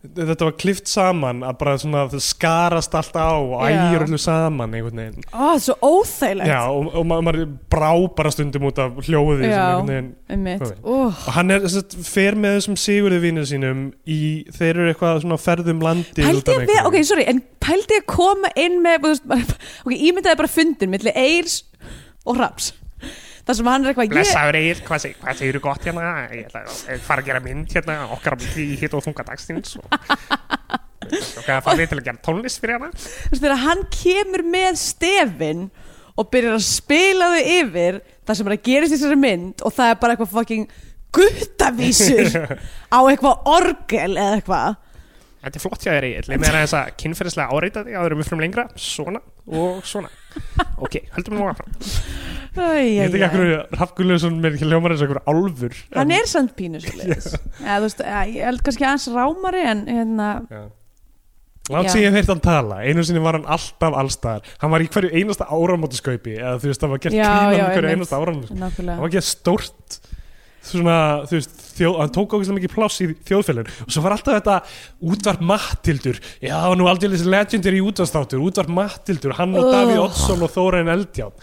þetta var klift saman að bara svona það skarast allt á og Já. ægir öllu saman einhvern veginn Ó, það er svo óþægilegt Já, og, og ma maður brá bara stundum út af hljóði sem Já. einhvern veginn einmitt, Hvað veit? óh og hann er, þess að, fer með þessum sigurðu vinnu sínum í, þeir eru eitthvað svona á ferð um landi Pældi að vera, ok, sorry, en pældi að koma inn með, þú veist, maður- ok, ímyndaði bara fundin milli Eils og Raps þar sem hann er eitthvað ég, Blessaður Egil, hvað, seg, hvað segirðu gott hérna? Ég ætla að fara að gera mynd hérna, okkar á milli í hitt og þunga dagstins og okkar að fara við til að gera tónlist fyrir hana. þú veist, þegar hann kemur með stefin og byrjar að spila þau yfir þar sem er að gerist í þessari mynd og það er bara eitthvað fucking guttavísur á eitthvað orgel eða eitthvað Þetta er flott hjá þér Egil, leið mér aðeins að kynferðislega áreita þig að við fyrir lengra, svona og svona. Ok, höldum nú áfram. Æ, Ég veit æ, ekki æ. af hverju Raff Guðlaugsson mér ekki hljómar eins og einhver álfur hann en- er samt pínu svolítið ja, þú veist, ja, ég held kannski aðeins rámari en hérna, Já. Látt Já. sem ég hef heyrt hann tala, einu sinni var hann alltaf allstaðar Hann var í hverju einasta áramótaskaupi eða þú veist, það var gert Já, klínan já, um hverju einmitt. einasta áramótaskaupi nákvæmlega Það var ekki stórt svona, þú veist, þjóð, hann tók ógeðslega mikið pláss í þjóðfélagin og svo var alltaf þetta útvarp Mattildur já, það var nú aldrei legendary útvarstáttur útvarp Mattildur, hann og Ugh. Davíð Oddsson og Þórainn Eldján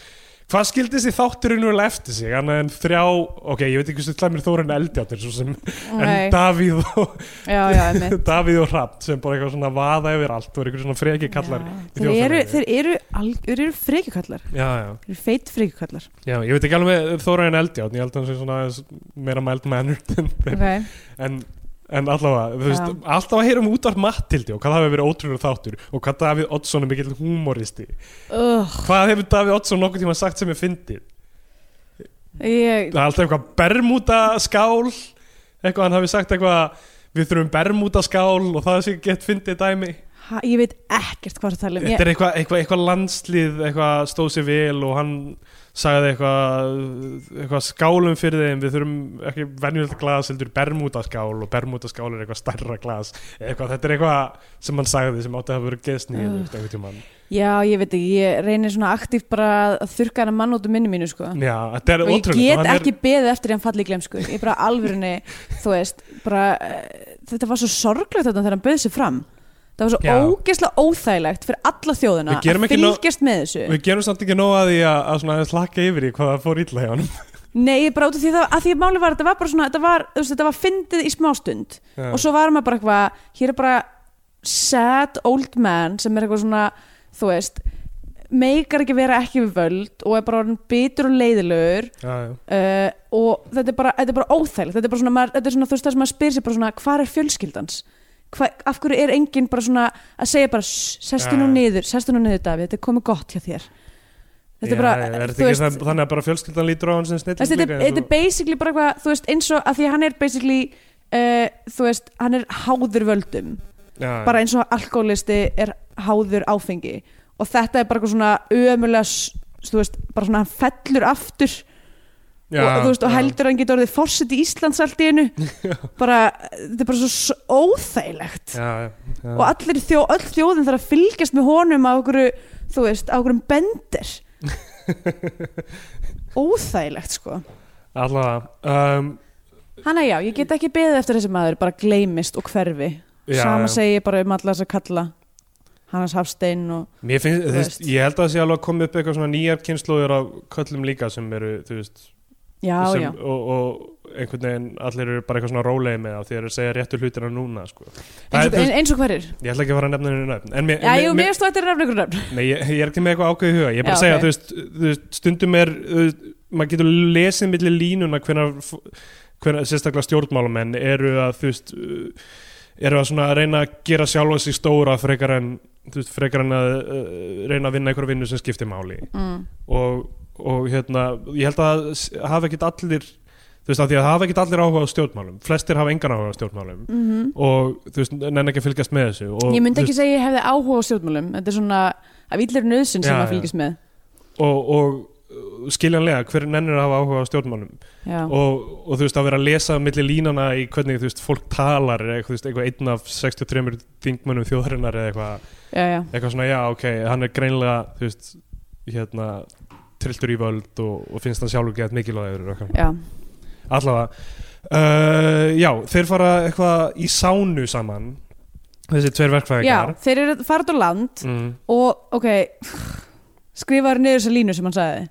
hvað skildi þessi þátturinn úr eftir sig, hann en þrjá ok, ég veit ekki hversu slæmir Þórainn Eldján er svo sem, Nei. en Davíð og, já, já, einmitt Davíð og Rapp sem bara eitthvað svona vaða yfir allt og er eitthvað svona freki kallar Já, í þeir eru, þjóðfélaginu. þeir eru, alg, þeir eru frekjukallar já, já, þeir eru feit frekjukallar já, ég veit ekki alveg með Þórainn Eldján, ég held að hann sé svona aðeins meira mild mannered en þeir okay. en, en allavega, þú veist, Já. alltaf að heyra um útvarp Mattildi og hvað það hefur verið ótrúlega þáttur og hvað Davíð Oddsson er mikill humoristi Ugh, hvað hefur Davíð Oddsson nokkuð tíma sagt sem ég fyndið ég, það er alltaf eitthvað bermúta skál eitthvað hann hafi sagt eitthvað við þurfum bermúta skál og það sé gett fyndið dæmi ha, ég veit ekkert hvað það tala um þetta ég, er eitthvað, eitthvað, eitthvað landslið eitthvað stóð sér vel og hann sagði eitthvað, eitthvað skálum fyrir þeim við þurfum ekki venjulegt glas heldur bermúdaskál og bermúdaskál er eitthvað stærra glas eitthvað, þetta er eitthvað sem hann sagði sem átti að hafa verið geðsnið Ugh. einhvern tímann já, ég veit ekki, ég reynir svona aktíft bara að- að þurka hana mann út um minni mínu sko. Já, þetta er og ég ótrúlegt get hann er- ekki beðið eftir hann falli í glemsku ég bara alvörunni, þú veist bara, eh, þetta var svo sorglegt þetta þegar hann bauð sér fram það var svo Já. ógeðslega óþægilegt fyrir alla þjóðina Við gerum að ekki nóg- fylgjast með þessu Við gerum samt ekki nóg að því að, að svona aðeins laka yfir í hvað það fór illa hjá hann Nei, bara út af því það, að því máli var þetta var bara svona, þetta var, þú veist, þetta var fyndið í smástund og svo var maður bara eitthvað, hér er bara sad old man sem er eitthvað svona, þú veist meikar ekki vera ekki við völd og er bara orðin bitur og leiðilegur já, já. uh, og þetta er bara, þetta er bara óþægilegt þetta er bara svona, maður, þetta er svona, þú veist, það sem maður spyr sér bara svona, hvar er fjölskyldans? Hva, af hverju er enginn bara svona að segja bara "Sss, sestu nú Já, já. niður, sestu nú niður Davíð, þetta er komið gott hjá þér þetta Já, er bara, já, er þú þetta ekki veist- það- þannig að bara fjölskyldan lítur á hann sem snill Þessi, þetta, er- þetta er basically bara eitthvað, þú veist, eins og að því að hann er basically, uh, þú veist, hann er háður völdum, bara eins og alkoholisti er háður áfengi og þetta er bara eitthvað svona ömulega, s- þú veist, bara svona hann fellur aftur og, þú veist, og heldur að hann getur orðið fórseti í Íslands allt í einu, bara, þetta er bara svo s- óþægilegt já, já, já. og allir í þjó, öll þjóðin þarf að fylgjast með honum á okkur, þú veist, á okkur bendir. Óþægilegt, sko. allavega um, Hanna já, ég get ekki beðið eftir þessi maður, bara gleymist og hverfi. Já, Sama já. segi ég bara um alla þess að kalla. Hannes Hafstein og Mér finnst, Þú þú veist, veist. ég held að það sé alveg að koma upp eitthvað svona nýjar kynnslóður af köllum líka sem eru, þú veist já, sem, já, Og, og einhvern veginn allir eru bara eitthvað svona rólegi með það þegar þeir segja réttu hlutina núna sko. það eins og, er, þú ein, veist, eins og hverir Ég ætla ekki að fara að nefna henni nöfn En mér, Já, mér- jú, mér- mér stóð þetta er rafnökur nöfn Nei, ég, ég er ekki með eitthvað ákveð í huga Ég er Já, bara að segja, ok. þú veist, þú veist, stundum er þú veist, maður getur lesið milli línuna hvenar, hvenar sérstaklega stjórnmálamenn eru að þú veist uh, eru að svona að reyna að gera sjálfa sig stóra frekar en þú veist, frekar en að uh, reyna að vinna einhverja vinnu sem skiptir máli mm. og, og hérna, ég held að s- hafa ekkit allir þú veist, af því að hafa ekkit allir áhuga á stjórnmálum flestir hafa engan áhuga á stjórnmálum og þú veist, nenn ekki að fylgjast með þessu og, Mhm. Ég myndi þú ekki segja ég hefði áhuga á stjórnmálum Þetta er svona af illir nöðsyn sem Já, maður já. fylgist með og, og uh, skiljanlega hver nennir að hafa áhuga á stjórnmálum Já, og, og þú veist að vera að lesa milli línana í hvernig þú veist fólk talar eða eitthvað, þú veist, eitthvað einn af 63 þingmönnum þjóðarinnar eða eitthvað, já, já, eitthvað svona já ok, hann er greinlega þú veist hérna trilltur í völd og, og finnst hann sjálfur gett mikilvægur og eitthvað. já. allavega uh, já, þeir fara eitthvað í sánu saman þessi tveir já verkfræðingar Þeir eru að fara út á land mm. og, ok skrifaður niður þessa línu sem hann sagði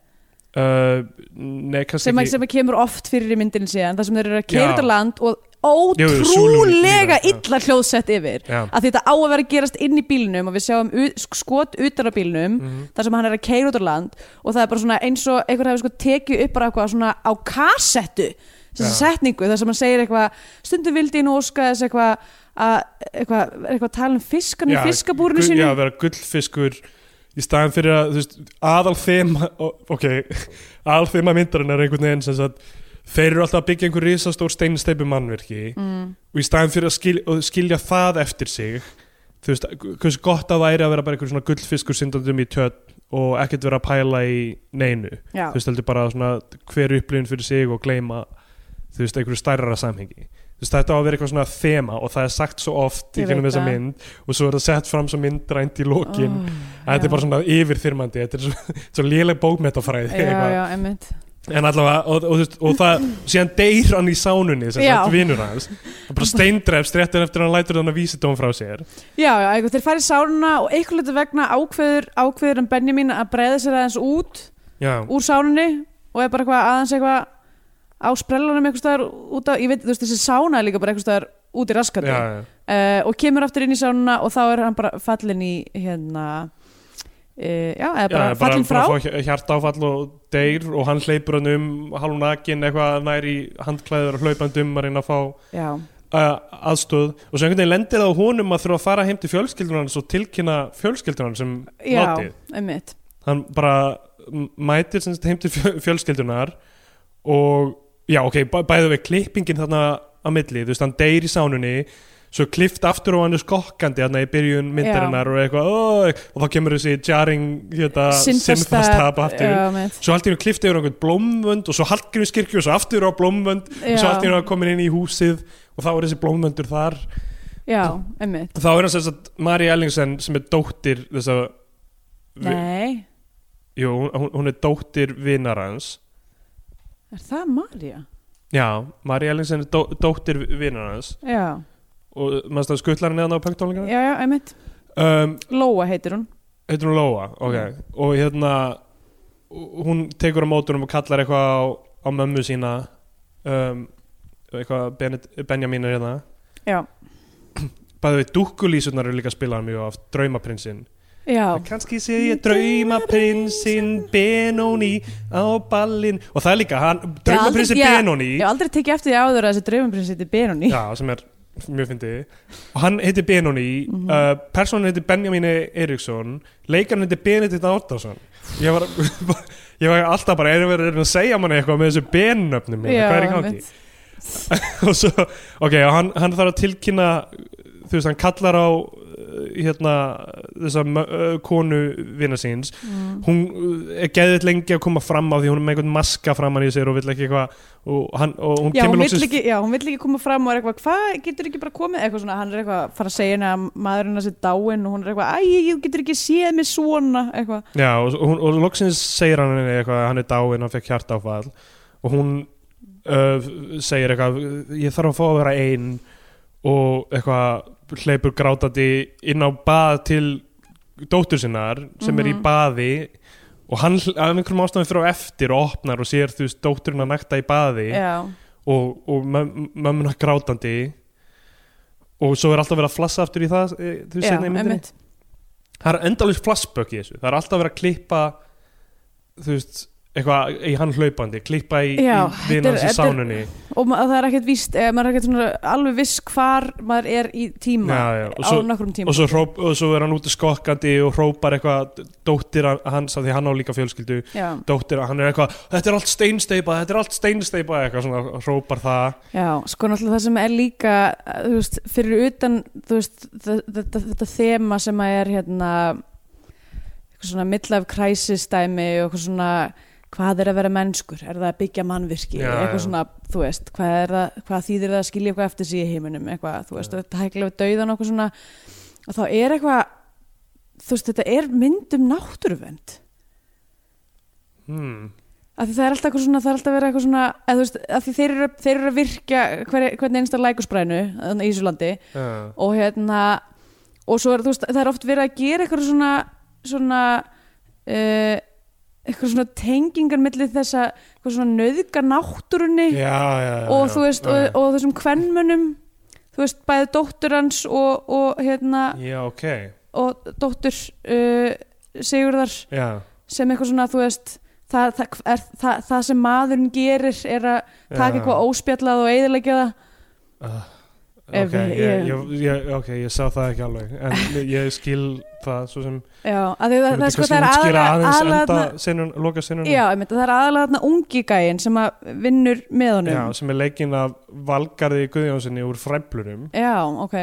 uh, nei, kannski sem, ekki ekki... sem kemur oft fyrir í myndinu síðan þar sem þeir eru að Já. keira út á land og Jú, jú, súlur- ótrúlega líka, já. illa hljóðsett yfir já. að þetta á að vera að gerast inn í bílnum og við sjáum u- sk- skot utan á bílnum Mhm. þar sem hann er að keira út á land og það er bara svona eins og einhver hefur sko tekið upp bara eitthvað svona á kassettu þessa Já. setningu þar sem hann segir eitthvað stundum vildi ég nú óska þess eitthvað að eitthvað, er eitthvað að tala um fiskan í Já, fiskabúrinu gull- sínu Já, vera gullfiskur í staðan fyrir að, þú veist, aðal þema ok, aðal þema myndarinn er einhvern veginn sem sagt þeir eru alltaf að byggja einhver risastór steinsteipu mannverki mm, og í staðan fyrir að skilja, og skilja það eftir sig þú veist, hversu gott að væri að vera bara einhver svona gullfiskur syndandum í tjött og ekkert vera að pæla í neinu já, þú veist, heldur bara svona hver upplifin fyrir sig og gleyma þú veist, einhverju stærra samhengi þú veist, þetta á að vera eitthvað svona þema og það er sagt svo oft í Ég gennum veit þessa það. mynd og svo er það sett fram svo myndrænt í lokin Ó, að þetta já. er bara svona yfirþyrmandi þetta er svo, svo léleg bókmetafræði já, eitthvað. já, einmitt en allavega, og, og, þú veist, og það síðan deyr hann í sánunni sem Já. sagt vinur hans og bara steindrefst réttin eftir að hann lætur þannig að vísidóm frá sér Já, já, eitthvað, þeir farið sánuna og eitthvað hluti vegna ákveður, ákveður en Benjamin að breyða sér aðeins út já, úr sánunni og er bara eitthvað aðeins eitthvað á sprellanum eitthvað staðar út á, ég veit, þú veist, þessi sána er líka bara eitthvað staðar út í já, raskandi já. uh, og kemur aftur inn í sánuna og þá er hann bara fallin í hérna uh, já, eða bara Já, fallin frá bara fá hjarta áfall og deyr og hann hleypur hann um hálfnakin eitthvað nær í handklæður og hlaupandum að reyna að fá já, uh, aðstöð og svo einhvern veginn lendir það á honum að þurfa að fara heim til fjölskyldunar hans og tilkynna um fjölskyldunar sem já, látið einmitt hann bara m- mætir sem sagt heim til fjö- fjölskyldunar og já ok, bæ- bæðu við klippingin þarna á milli, þú veist hann deyr í sánunni svo klift aftur og hann er skokkandi þarna í byrjun myndarinnar og eitthvað "Ó", og þá kemur þessi jarring hérna, synthastab aftur já, einmitt svo haldt ég klift yfir á einhvern blómvönd og svo hallgrímskirkju og svo aftur á blómvönd og svo haldt ég að komin inn í húsið og þá er þessi blómvöndur þar já, einmitt þá er hann sem sagt Mari Ellingsen sem er dóttir þess að nei, Jú, hún, hún er dóttir vinar hans er það Marja? Já, Mari Ellingsen er dó, dóttir vinar hans já, og mannst að skuttlar hann eða á pöngtólingar já, já, einmitt um, Lóa heitir hún Heitir hún Lóa, ok Mm. og hérna hún tekur á mótunum og kallar eitthvað á, á mömmu sína um, eitthvað Bened, Benjamin er hérna já, Bæði við dúkkulísunar eru líka að spila mjög oft Draumaprinsinn já, Kanski sé ég draumaprinsinn Benóni á ballin Og það er líka, hann, Já, aldrei- draumaprinsinn já, Benóni ég hef aldrei tekið eftir því áður að þessi draumaprins heitir Benoni Já, sem er mjög fyndið og hann heitir Benoni mm Mhm. uh, personan heitir Benjamin Eriksson leikarn heitir Benedikt Árdarsson ég var, ég var alltaf bara erum verið að segja manni eitthvað með þessu bennöfnum Já, hvað er í gangi einmitt. og svo, ok, og hann, hann þarf að tilkynna þú veist, hann kallar á uh, hérna, þessa mö- uh, konu vina síns Mm. hún uh, er geðið lengi að koma fram á því hún er með einhvern maska framan í sér og vill ekki eitthvað og, hann, og hún Já, kemur hún loksins- vill ekki, já, hún vill ekki koma fram og er eitthvað, hvað getur ekki bara komið eitthvað svona, hann er eitthvað að fara að segja henni að maðurinn hans er dáinn og hún er eitthvað, æ, ég getur ekki séð mig svona, eitthvað Já, og, og, og loksins segir hann henni eitthvað að hann er dáinn, hann fekk hjartáfall og hún uh, segir eitthvað, ég þarf að fá að vera ein og eitthvað hleypur grátandi inn á bað til dóttur sinnar sem er í Mhm. baði og hann hl- af einhverjum ástæðum fyrir á eftir og opnar og sér þú veist dótturinn að nækta í baði já, og, og möm- mömmuna grátandi og svo er alltaf verið að flassa aftur í það eh, þú veist já, seinna í myndinni einmitt það er endalins flashback í þessu það er alltaf verið að klippa þú veist, eitthvað í hann hlaupandi klippa í, Já, í þetta er- vinnans í þetta er- sánunni og ma- það er ekkert víst, eh, maður er ekkert svona alveg viss hvar maður er í tíma Já, já, og á svo- nokkrum tíma og svo, hróp, og svo er hann úti skokkandi og hrópar eitthvað dóttir hann- hans af því hann á líka fjölskyldu já, dóttir hann er eitthvað, þetta er allt steinsteipað þetta er allt steinsteipað eitthvað svona hrópar það Já, sko náttúrulega það sem er líka eh, þú veist, fyrir utan þú veist, þ- þetta, þetta þema sem að er hérna eitthvað svona midlife crisis dæmi og eitthvað svona hvað er að vera mennskur, er það að byggja mannvirki Já, eitthvað já. svona, þú veist, hvað, er það, hvað þýðir það að skilja eitthvað eftir sig í heiminum eitthvað, þú veist, þetta hægla við dauðan og eitthvað svona og þá er eitthvað þú veist, þetta er mynd um náttúruvend hmm. að því það er alltaf eitthvað svona, það er alltaf verið eitthvað svona að þú veist, að því þeir eru, þeir eru að virkja hver, hvernig einsta lækusprænu þarna í Ísulandi uh, og hérna og svo er, þú veist, það er oft verið að gera eitthvað svona svona uh, eitthvað svona tengingar milli þessa, eitthvað svona nöðga náttúrunni já, já, já, og já, þú veist, já, já. og, og þessum kvennmönnum þú veist, bæði dóttur hans og, og hérna, já, ok og dóttur uh, Sigurðar já, sem eitthvað svona, þú veist það, það, er, það, það sem maðurinn gerir er að taka Já. eitthvað óspjallað og eiðilegja það uh, Ef ok, ég- ég, ég, ég, ok, ég sá það ekki alveg en ég skil það svo sem já, að því Ég það, myndi það, sko, kannski það er útskýra aðalega aðeins aðalega enda þarna- senun, loka senun já, einmitt, það er aðalega þarna ungi gæin sem að vinnur með honum Já, sem er leikinn af Valgarði Guðjónssoni úr fræblunum Já, ok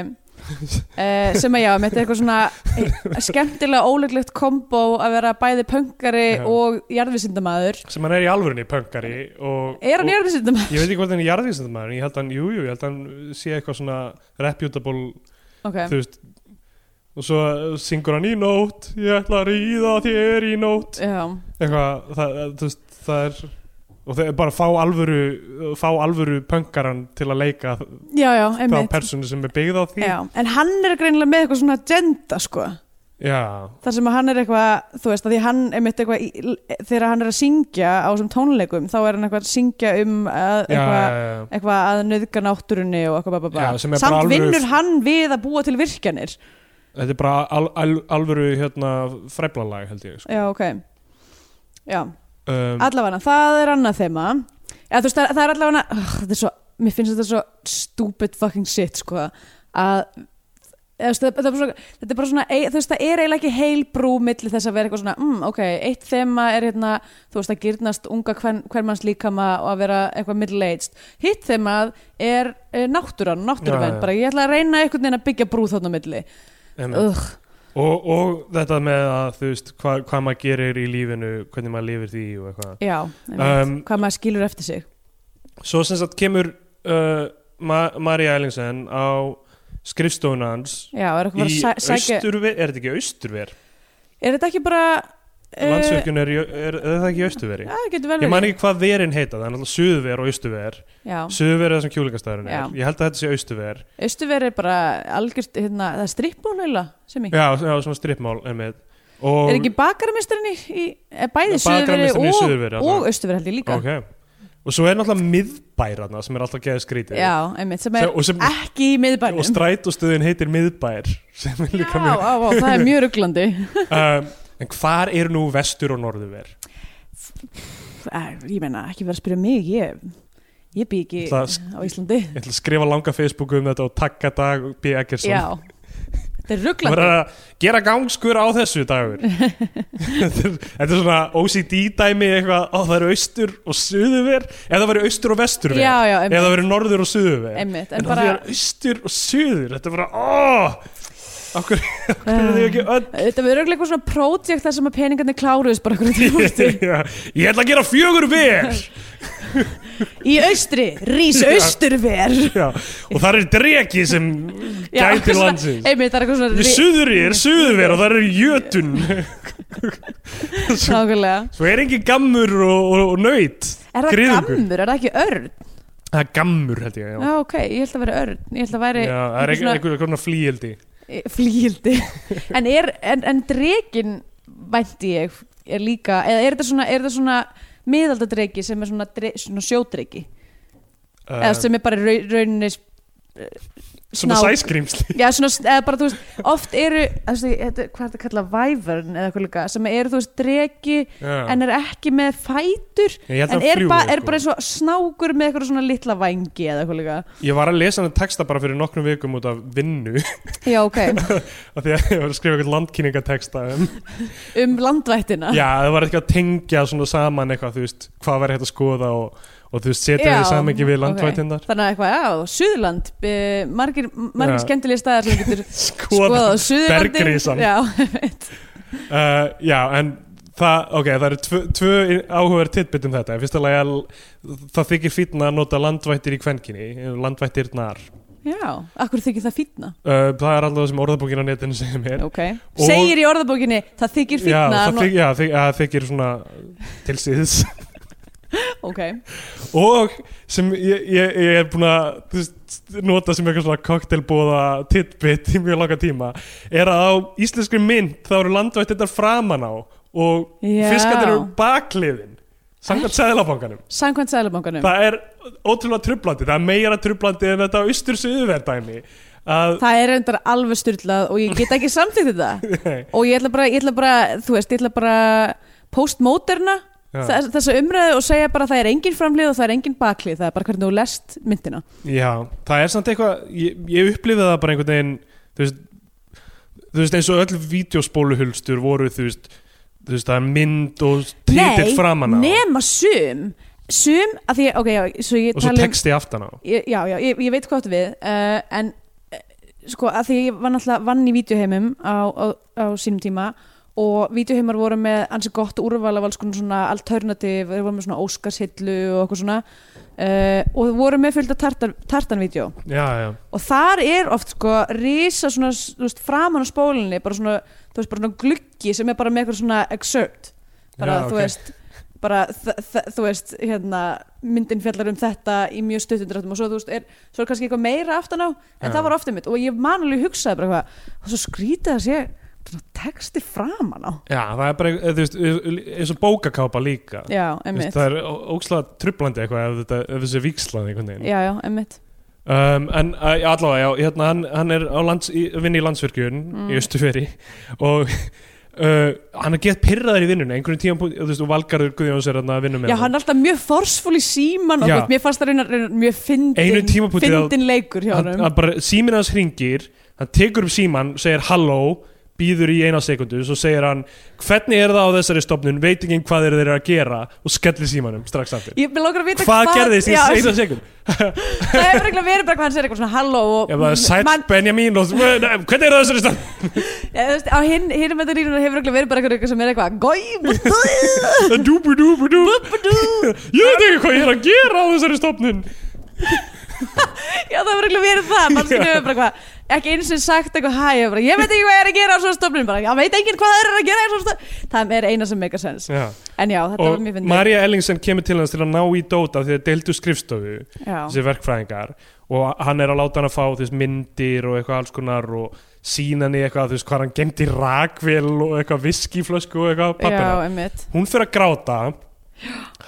uh, sem að já, þetta er eitthvað svona eh, skemmtilega óleglegt kombo að vera bæði pöngari Já. og jarðvísindamaður sem hann er í alvörunni pöngari og, er hann og jarðvísindamaður? ég veit ekki hvað hann er jarðvísindamæður ég held hann, jú, jú, ég held hann sé eitthvað svona reputable, ok, þú veist og svo syngur hann í nót ég ætla að ríða þér í nót já, eitthvað, það, eh, þú veist, það er og þeir bara fá alvöru fá alvöru pöngaran til að leika já, já, þá einmitt personu sem er byggð á því já. en hann er greinilega með eitthvað svona agenda sko Já, þar sem að hann er eitthvað þú veist að því hann er mitt eitthvað í, þegar hann er að syngja á þessum tónleikum þá er hann eitthvað að syngja um að, já, eitthvað, já, já. eitthvað að nöðga náttúrunni og eitthvað bara Já, bara sem er bara samt alvöru- vinnur hann við að búa til virkjanir Þetta er bara al, al, alvöru hérna, fræblalag held ég sko. já ok já um, allavega það er annað þema já þú veist það, það er allavega oh, þetta er svo mér finnst þetta svo stupid fucking shit sko að eða, þú veist, það, það er bara svona, þetta er bara svona ei- þú veist, það er eiginlega ekki heil brú milli þess að vera eitthvað svona, mm, ok, eitt þema er hérna, þú veist, að gyrnast unga hvern, hvernmanns líkama og að vera eitthvað middle-aged, hitt þemað er eh, náttúran, Já, náttúruvenn já. bara ég ætla að reyna einhvern veginn að byggja brú þarna á milli, einmitt. ugh, og, og þetta með að þú veist hva, hvað maður gerir í lífinu hvernig maður lifir því og eitthvað já um, Um, hvað maður skilur eftir sig svo sem sagt kemur uh, Ma Maria Ellingsen á skrifstofun hans já, er í eitthvað bara að sæ- sækja austurver, er þetta ekki austurver? er þetta ekki bara eh, landsvirkjun er, í- er, er það ekki í austurveri? Já, Ah, það getur vel ég man verið ekki hvað verin heita, það er náttúrulega suðver og austurver Já, suðver er það sem kjúlingastæðurinn Já. er ég held að þetta sé austurver Östuver er bara algjörst, hérna, það er strippból heila sem ég, já, já, svona strippmál einmitt. og er ekki bakaramestrarinn í, í er bæði Suðurveri Bakarameistarinn í Suðurveri, og, allavega. og Östuver held ég líka ok og svo er náttúrulega miðbæraðna sem er alltaf geða skrítið Já, einmitt, sem Sem- og er sem- ekki í miðbænum og strætóstöðin heitir miðbær sem er Já, líka á, á, það er mjög rugglandi mjög um, en hvar er nú vestur og norðuver? Æ, Ég meina, ekki verið að spyrja mig ég, ég bý ekki Það- á Íslandi ég ætla að skrifa langa Facebooku um þetta og takka dag B. Eggerson Já, þetta er Það rugglandi verður að gera gangskur á þessu dagur Þetta er þetta er svona OCD dæmi eitthvað ó, það eru austur og suðuver eða það verður austur og vesturver Já, já, eða það einmitt, verður norður og suðuver einmitt en En það bara, verður austur og suður þetta er bara óh okkur er þau ekki öll þetta verður rugglandi eitthvað svona prótjekt þar sem að peningarnir kláruðist bara hvernig tímúti Já, ég ætla að gera fjögur ver Í austri, rís austurver Já, og það er dregi sem Já, gætir svona- landsins einmitt, það er eitthvað svona Í ri- suðri er suðver og það eru jötun svo, Nákvæmlega svo er ekki gammur og, og, og nöyt Er það Griðungur. gammur, er það ekki örn? Það er gammur held ég Já, Já, ok, ég held að vera örn Ég held að væri Já það er eitthvað einhver- einhver konar flíildi svona, flígildi en, er, en, en drekin vænti ég er líka eða er þetta svona, er þetta svona miðaldadreiki sem er svona, dre, svona sjódreiki Eh, eða sem er bara í rau- rauninni s- eh, svona sná- sæskrimsli Já, svona, eða bara, þú veist, oft eru, þú veist, þetta, hvað er þetta að kalla, vævern eða eitthvað líka, sem eru, þú veist, dregi en er ekki með fætur, Ég held en að er, fljúgi, ba, er sko. bara eins og snákur með eitthvað svona litla vangi eða eitthvað líka. Ég var að lesa hann texta bara fyrir nokkrum vikum út af vinnu Já, ok, af því að ég var að skrifa eitthvað landkynningatexta um, um landvættina. Já, það var eitthvað að tengja svona saman eitthvað, þú veist, hvað var hægt að skoða og, og þú veist, setja Já, þið samengi við ok. landvætindar Þannig að eitthvað, já, Suðurland, eh, margir, margir Já. skemmtilega staðar sem þú getur Skoða, skoðað á Suðurlandi. bergrisan. Já, veit. Uh, já, en það, ok, það eru tvö, tvö áhugaður titbit um þetta. Í fyrsta lagi að það þykir fínna að nota landvættir í kvenkinni, landvættirnar. Já, akkur þykir það fýtna, Uh, það er alltaf sem orðabókin á netinu segir mér. ok. Segir í orðabókinni, það þykir já, fýtna, það þykir, já, þykir, já, það þykir svona til síðs. ok. Og sem ég, ég, ég er búin að þú veist, nota sem eitthvað svona koktelbóða titbit í mjög langa tíma, er að á íslenskri mynd þá eru landvættirnar framan á og Já. fiskarnir eru bakliðin. Samkvæmt sæðlabankanum. Samkvæmt sælubankanum. það er ótrúlega trublandi það er meira trublandi en þetta á austur suðuverdæmi að Það er reyndar alveg styrlað og ég get ekki samþýtt þetta og ég ætla bara, ég ætla bara þú veist, ég ætla bara postmoderna Já. þess- þessa umræðu og segja bara að það er engin framlið og það er engin baklið, það er bara hvernig þú lest myndina. já, það er samt eitthvað ég, ég upplifið það bara einhvern veginn þú veist, þú veist eins og öll vídeospóluhulstur voru þú veist, þú veist það er mynd og titill framan á nema sum sum, af því, ok, já, svo ég og svo tala um texti aftan á ég, já, já, ég, ég veit hvað áttu við uh, en eh, sko að því ég var náttúrulega vann í vídeoheimum á, á, á sínum tíma og vídeoheimar voru með ansi gott úrval af alls konar svona alternativ þeir voru með svona óskarshillu og okkur svona uh, og voru með fullt af tartan, tartanvídeó já, já, og þar er oft sko risa svona, þú veist, framan á spólinni bara svona, þú veist, bara svona gluggi sem er bara með eitthvað svona excerpt bara, Já, þú ok. veist bara, þ- þ- þú veist, hérna myndin fjallar um þetta í mjög stuttundrættum og svo, þú veist, er, svo er kannski eitthvað meira aftan á, en Já. það var ofta mitt og ég man alveg hugsaði bara eitthvað, og svo skrítið að sé svona texti framan á já, það er bara eh, þú veist, eins og bókakápa líka já, Þú veist, emmitt, það er ó- ókslega trublandi eitthvað ef þetta, ef þessi víkslaði einhvern veginn já, já, emmitt Um, en uh, já, allavega, já, hérna, hann, hann er á lands, í, vinni í landsvirkjun Mm. í Östuferi og uh, hann er gett pyrraðar í vinnunni einhvern tíma, þú veist, og Valgarður Guðjóns er hann að vinna með já, hann er alltaf mjög forsfúl í síman og Já. gott, mér fannst það raunar, raunar mjög Einu fyndin, tímapunkti að- fyndin leikur hjá hann, hann bara, síminn hans hringir hann tekur upp síman, segir halló býður í eina sekundu, svo segir hann hvernig er það á þessari stofnun, veit ekki hvað er þeir að gera og skellir símanum strax aftur. Ég vil langar að vita Hvað gerðist í Já, eina sekund? Það hefur eiginlega verið bara hvað hann segir eitthvað svona halló og Já, það er sætt Man- Benjamin og hvernig er það á þessari stofnun? Já, þú veist, á hinn hin með það línunar hefur eiginlega verið bara eitthvað- eitthvað sem er eitthvað gói Dúbu dúbu dú Ég veit ekki hvað ég er að gera á þessari stofnun Já það hefur eiginlega verið það mannskinu hefur bara eitthvað ekki eins og sagt eitthvað hæ ég, bara, ég veit ekki hvað ég er að gera á svona stofnun bara já veit enginn hvað það er að gera á svona stofnun það er eina sem make a sense Já. en já þetta var Og mjög fyndið Marja Ellingsen kemur til hans til að ná í Dóta því að deildu skrifstofu Já þessi verkfræðingar og hann er að láta hann að fá þess myndir og eitthvað alls konar og sína hann í eitthvað þú veist hvað hann gemdi rakvél og eitthvað viskiflösku og eitthvað pappina Já emmitt hún fyrir að gráta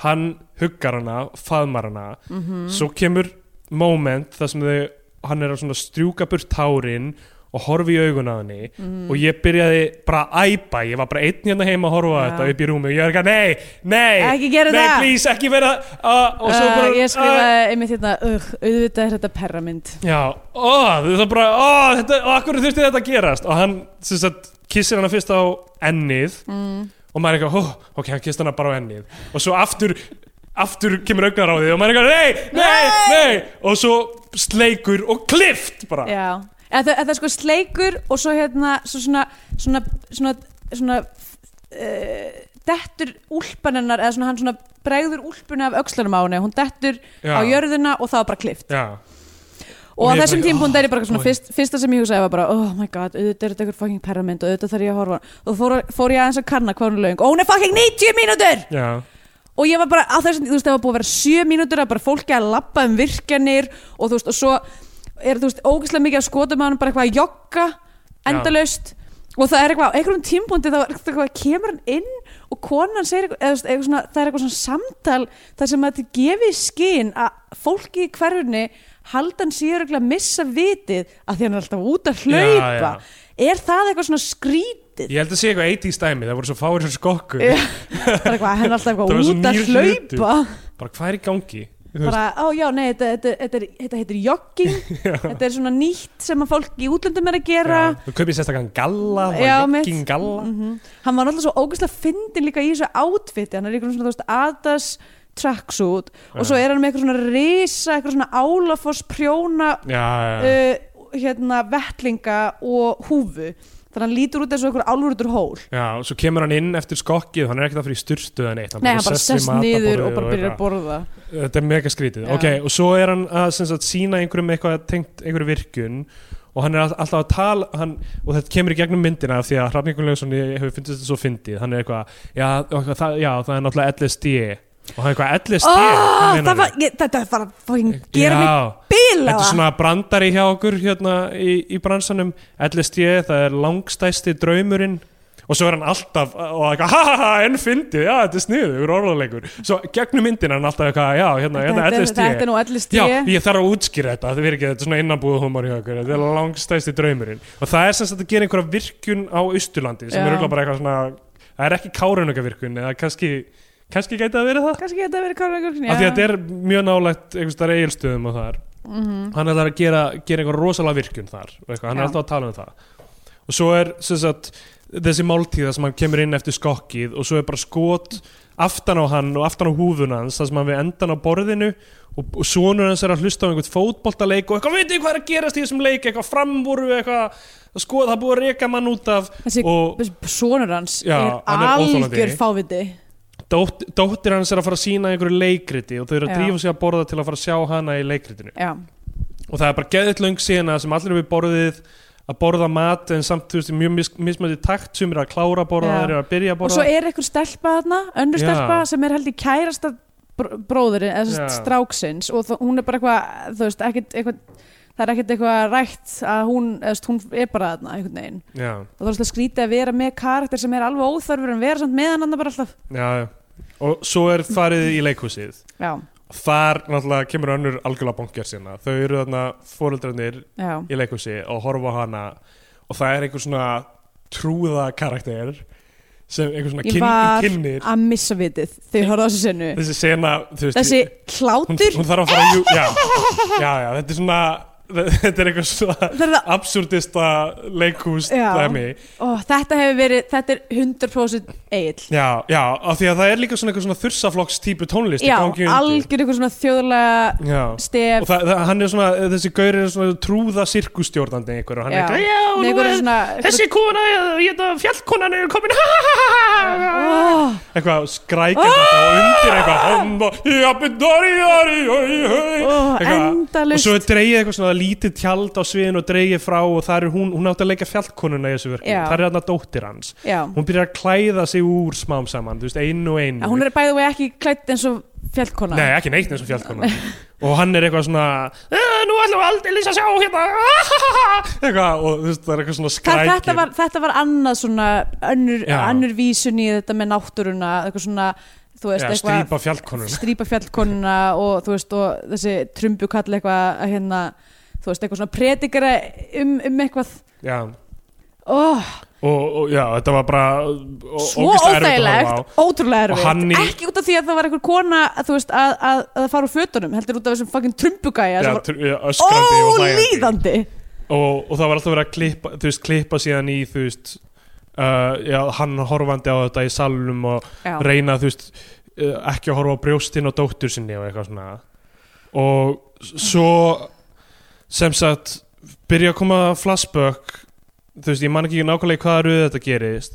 hann huggar hana, faðmar hana Mhm. svo kemur moment þar sem þau, hann er að svona strjúka burt hárin og horfi í augun að henni Mhm. og ég byrjaði bara að æpa, ég var bara einn hérna heima að horfa á Já. þetta upp í rúmi og ég er ekki að nei, nei Ekki gera nei, það." please, ekki vera uh, og svo bara Uh, ég uh, skrifaði einmitt hérna uh, auðvitað er þetta perramynd Já, ó, þetta er bara, ó, þetta, ó, akkur þurfti þetta að gerast og hann, sem sagt, kissir hana fyrst á ennið mm. og maður er eitthvað, ó, ok, hann kissir hana bara á ennið og svo aftur, aftur kemur augnar á því og maður er eitthvað, nei, nei, nei, og svo sleikur og klift bara Já, eða, það- eða það er sko sleikur og svo hérna svo svona svona, svona, svona uh, dettur úlpanennar eða svona hann svona bregður úlpuna af öxlanum á henni, hún dettur Já. á jörðina og það var bara klift Já, og Og á ég þessum bara, tímpúnd er ég bara svona boy. fyrst, fyrsta sem ég hugsaði var bara oh my god, auðvitað er þetta eitthvað fucking perrament og auðvitað þarf ég að horfa á hana. og fór, fór ég aðeins að kanna hvað hún er löng og hún er fucking 90 mínútur já, og ég var bara á þessum, þú veist, það var búið að vera sjö mínútur að bara fólki að labba um virkjanir og þú veist, og svo er þú veist, ógeðslega mikið að skotum hann bara eitthvað að jogga endalaust og það er eitthvað, á einhverjum tímpúndi þá er eitthvað, kemur hann inn og konan segir eitthvað, eða þú veist, eitthvað svona, það er eitthvað svona samtal þar sem að þetta gefi skinn að fólki í hverjunni haldan síður eitthvað að missa vitið að því hann er alltaf út að hlaupa Já, já. er það eitthvað svona skrítið Ég held að sé eitthvað 80s dæmi, það voru svo fáir sem skokku Já. það er eitthvað, hann er alltaf Það var eitthvað svo út að nýr hlutur. hlaupa Bara hvað er í gangi? Þú veist, bara, á já, nei, þetta, þetta, þetta, þetta, þetta heitir jogging, þetta er svona nýtt sem að fólk í útlöndum er að gera já, Þú kaupir sérstakann galla, Já, var mitt. jogging galla hann var náttúrulega svo ógeðslega fyndin líka í þessu átfitti, hann er einhvern svona þú veist, Adas tracksuit og svo er hann með eitthvað svona risa, eitthvað svona álafoss prjóna Já, já, já uh, hérna vettlinga og húfu þannig að hann lítur út eins og einhver álfurður hól Já, og svo kemur hann inn eftir skokkið, hann er ekkert að fyrir styrstu eða neitt Nei, hann bara sest við sest niður og matarborðið bara byrjar eitthvað. að borða Þetta er mega skrítið, Já. ok, og svo er hann að sem sagt, sína einhverjum eitthvað tengt einhverju virkun og hann er all- alltaf að tala hann, og þetta kemur í gegnum myndina af því að Hrafningur Leifsson hefur fundist þetta svo fyndið hann er eitthvað, já, eitthvað það, já það er náttúrulega LSD og hann er eitthvað LSD hvað oh, meinarðu? það var, ég, þetta var að fucking gera mig Já, bíla þetta er svona brandari hjá okkur hérna í, í bransanum LSD, það er langstæsti draumurinn og svo er hann alltaf og eitthvað, ha ha ha, enn fyndið, já, þetta er sniðu við erum orðanleikur, svo gegnum myndin er hann alltaf eitthvað, já, hérna, hérna þetta, LSD þetta, þetta er nú ellist Já, ég ég þarf að útskýra þetta, þetta verður ekki þetta er svona innanbúið humor hjá okkur, þetta er langstæsti draumurinn og það er sem sagt að gera einhverja virkun á Austurlandi sem Já. er auðvitað bara eitthvað svona það er ekki kárunöka virkun eða kannski, kannski gæti það verið það kannski geta verið Karla Gurkni af því að þetta er mjög nálægt einhvers staðar eigilstöðum og þar hann er það að gera, gera einhver rosalega virkun þar og eitthvað, Mhm. hann er Já. alltaf að tala um það og svo er sem sagt, þessi máltíða sem hann kemur inn eftir skokkið og svo er bara skot aftan á hann og aftan á húfun hans þar sem hann við endan á borðinu og, og sonur hans er að hlusta á einhvern fótboltaleik og eitthvað, veitir hvað er að gerast í þessum leik eitthvað framvúru, eitthvað skoð, það er búið að reka mann út af þessi og sonur hans Já, hann er er óþolandi. algjör fáviti dótt, dóttir hans er að fara að sína einhverju leikriti og þau eru að Já. drífa sig að borða til að fara að sjá hana í leikritinu já, og það er bara geðið löng sína sem allir eru við borðið að borða mat en samt þú veist í mjög mis mismöndi takt sem eru að klára að borða, Já. þeir eru að byrja að og borða svo er einhver stelpa þarna önnur Já. stelpa sem er held í kærasta br bróðurinn, eða sem sagt Já. stráksins og þó- hún er bara eitthvað, þú veist, ekkit eitthvað, það er ekkit eitthvað rætt að hún, eða þú veist, hún er bara þarna einhvern veginn já, og þá er það skrítið að vera með karakter sem er alveg óþarfur en vera samt með hann annað bara alltaf já, já. og svo er farið í leikhúsið já, og þar náttúrulega kemur önnur algjörlega bankjar sína þau eru þarna fóreldrarnir já, í leikhúsi og horfa á hana og það er einhver svona trúða karakter sem einhver svona Ég kyn, var kynnir að missa vitið þau horfðu á þessu senu þessi sena þú veist, þessi hún, klátur, hún þarf að fara að jú, já, já, já, þetta er svona þetta er eitthvað svona það er það absurdista leikhús Já. dæmi ó, þetta hefur verið, þetta er 100% eigill já, já, af því að það er líka svona eitthvað svona þursaflokks típu tónlist í já, gangi undir. algjör eitthvað svona þjóðlega já. og stef það, það, hann er svona, þessi gaur er svona trúða sirkustjórnandi einhver og hann Já. er eitthvað, já, Nei, nú einhverju er svona, þessi kona, hérna, fjallkonan er komin oh, eitthvað Ah! skrækir þetta og undir eitthvað homma, jabbi, dori, dori, oi, oi oh, Eitthvað. og endalust svo er dreigið eitthvað svona lítið tjald á sviðinu og dreigið frá og það er hún, hún átti að leika fjallkonuna í þessu verku, Já. það er hann dóttir hans já, hún byrjar að klæða sig úr smám saman þú veist, einu og einu Að hún er bæðið og ekki klætt eins og fjallkona Nei, ekki neitt eins og fjallkona og hann er eitthvað svona "Eh, nú ætlum við aldrei lýsa sjá hérna eitthvað, og þú veist, það er eitthvað svona Það, skrækir þetta, var, þetta var annað svona önnur, Já. önnur vísun í þetta með náttúruna eitthvað svona, þú veist, Já, eitthvað strýpa fjallkonuna strýpa fjallkonuna og þú veist, og þessi trumbukall eitthvað að hérna, þú veist, eitthvað svona predikara um, um eitthvað Já, oh, og, og já, þetta var bara ó- svo ógeðslega erfitt að horfa á. óþægilegt ótrúlega Og hann erfitt, í- ekki út af því að það var einhver kona, þú veist, að, að, að það fara úr fötunum, heldur út af þessum fucking trumbugæja Já, sem tr- já, var öskrandi og hlæjandi ólíðandi og, og það var alltaf verið að klippa, þú veist, klippa síðan í þú veist uh, já, hann horfandi á þetta í salnum og Já. reyna þú veist uh, ekki að horfa á brjóstin og dóttur sinni og eitthvað svona og s- svo sem sagt byrja að koma flashback þú veist, ég man ekki nákvæmlega í hvaða röðu þetta gerist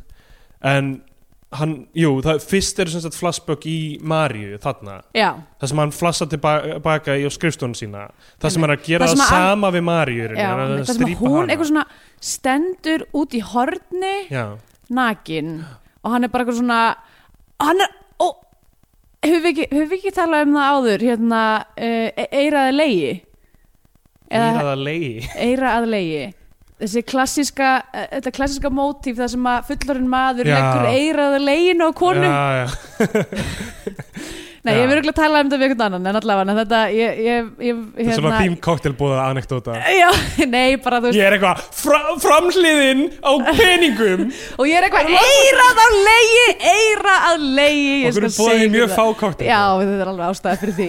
en hann, jú, það, fyrst er sem sagt flashback í Maríu þarna Já, það sem hann flassar tilbaka í á skrifstun sína það sem hann er að gera Það það, sem að- sama við Maríu í rauninni, já, hann er að það sem að strípa hún hana. eitthvað svona stendur út í horni já, nakin og hann er bara eitthvað svona hann er ó, hefur við ekki, hefur við ekki talað um það áður hérna uh, eiraði leiði eiraða leiði eiraði leiði þessi klassíska eh, þetta klassíska mótíf það sem að fullorinn maður Já. leggur eirað að leginu á konu já, já. nei, já. ég verður ekki að tala um þetta við einhvern annan en allavega, þetta, ég, ég, ég hérna, Það er svona þým koktelbúða anekdóta já, nei, bara þú veist Ég er eitthvað fra, framhliðin á peningum og ég er eitthvað eirað að legi eirað að legi ég skal Okkur er búið segja í mjög ykkur fá það. koktel já, þetta er alveg ástæða fyrir því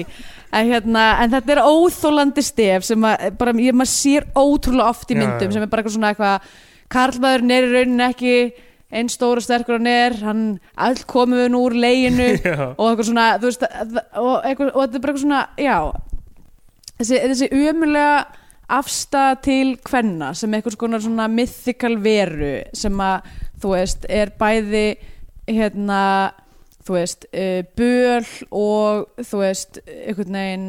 en, hérna, en þetta er óþólandi stef sem að, bara, ég, maður sér ótrúlega oft í Já, myndum já. sem er bara eitthvað svona eitthvað karlmaðurinn er í rauninni ekki einn stór og sterkur hann er hann all komið nú úr leginu Já. og eitthvað svona þú veist, að- og, eitthvað, og þetta er bara eitthvað svona já, þessi, þessi umulega afstæða til kvenna sem eitthvað svona, svona mythical veru sem að þú veist er bæði hérna þú veist, uh, böl og þú veist, einhvern veginn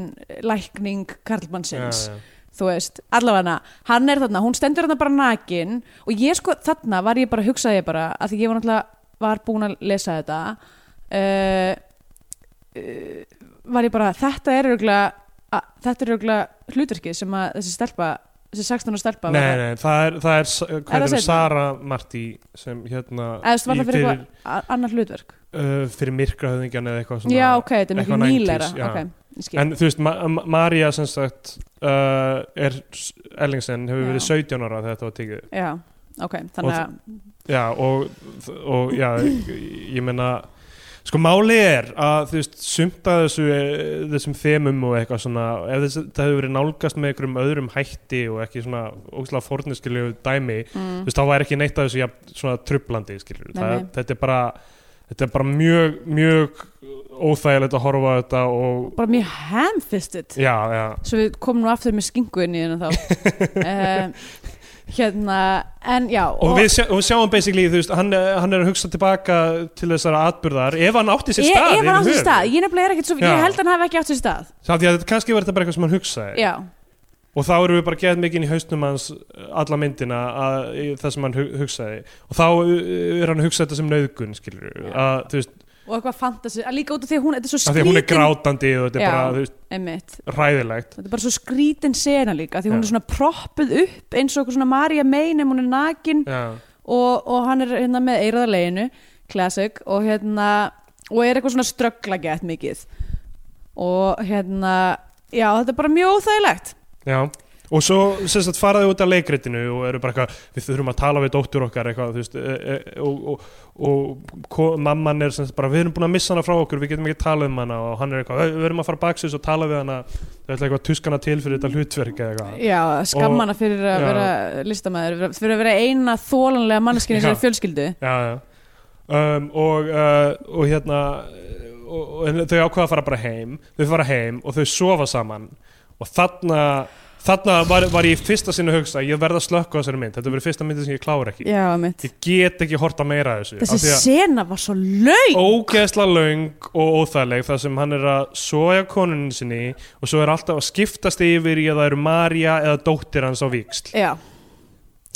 lækning karlmannsins já. þú veist, allavega hann er þarna, hún stendur þarna bara nakin og ég sko, þarna var ég bara, hugsaði ég bara að því ég var náttúrulega var búin að lesa þetta uh, uh, var ég bara, þetta er örugglega- að- þetta er örugglega hlutverkið sem að þessi stelpa, þessi 16 stelpa var Nei, að- nei, það er, það er, hvað það er, er seinna? Sara Martí sem hérna eða þú veist, var í það fyrir eitthvað a- annað hlutverk uh, fyrir myrkrahöðingjan eða eitthvað svona já, ok, þetta er miklu eitthvað 90s, nýleira já. ok, ég skil En þú veist, Ma Ma- María sem sagt uh, er s- Ellingsen hefur Já. verið 17 ára þegar þetta var tekið upp. já, ok, þannig að Já, og, og já, ég meina sko máli er að þú veist, sumta þessu eh, þessum þemum og eitthvað svona ef þess, það hefur verið nálgast með einhverjum öðrum hætti og ekki svona ógæslega fórniskilju dæmi, mm, þú veist, þá væri ekki neitt af þessu ja, svona trublandi, skilur Nei, það, nei. þetta er bara þetta er bara mjög, mjög óþægilegt að horfa á þetta og bara mjög hamfisted já, já, svo við komum nú aftur með skingu inn í hennar þá uh, hérna en já og við, sjá, og við sjáum basically þú veist, hann, hann er að hugsa tilbaka til þessara atbyrðar ef hann átti sér ég, stað ég var átt í yfir stað, ég nefnilega er ekkert svo Já. ég held hann hafi ekki átt í stað höfuð. það því að þetta- kannski var þetta bara eitthvað sem hann hugsaði já, og þá erum við bara geð mikið í hausnum hans uh, alla myndina að, í það sem hann hu- hugsaði og þá uh, er hann að hugsa þetta sem nauðgun skilur Já. að, þú veist, og eitthvað fantasi að líka út af því að hún, þetta er svo að því að hún er skrítin grátandi og þetta er Já. bara þú veist, einmitt, ræðilegt þetta er bara svo skrítin sena líka því hún Já. er svona proppuð upp eins og eitthvað svona Marja Mein ef hún er nakin já, og, og hann er hérna með eiraðarleginu classic og hérna og er eitthvað svona ströggla gett mikið og hérna já þetta er bara mjög óþægilegt já Og svo sem sagt, faraði út af leikritinu og eru bara eitthvað, við þurfum að tala við dóttur okkar eitthvað, þú veist, e, e, og, og, og ko, mamman er sem sagt bara, við erum búin að missa hana frá okkur, við getum ekki talað um hana og hann er eitthvað, "Ö, við erum að fara baksins og tala við hana, það er eitthvað tuskana til fyrir þetta hlutverk eða eitthvað. Já, Og- skammana fyrir að Já. vera listamæður, fyrir að vera eina þólanlega manneskinni Já. sem er fjölskyldu já, já. Um, og, uh, og hérna og, og, en þau ákveða að fara bara heim þau fara heim og þau sofa saman og þarna þarna var, var ég í fyrsta sinni að hugsa ég verð að slökka á þessari mynd, þetta verið fyrsta myndi sem ég klára ekki Já, mitt ég get ekki horta meira af þessu Þessi af því sena var svo laug að ógeðsla löng og óþægileg þar sem hann er að soja konunni sinni og svo er alltaf að skiptast yfir í að það eru Marja eða dóttir hans á viksl Já,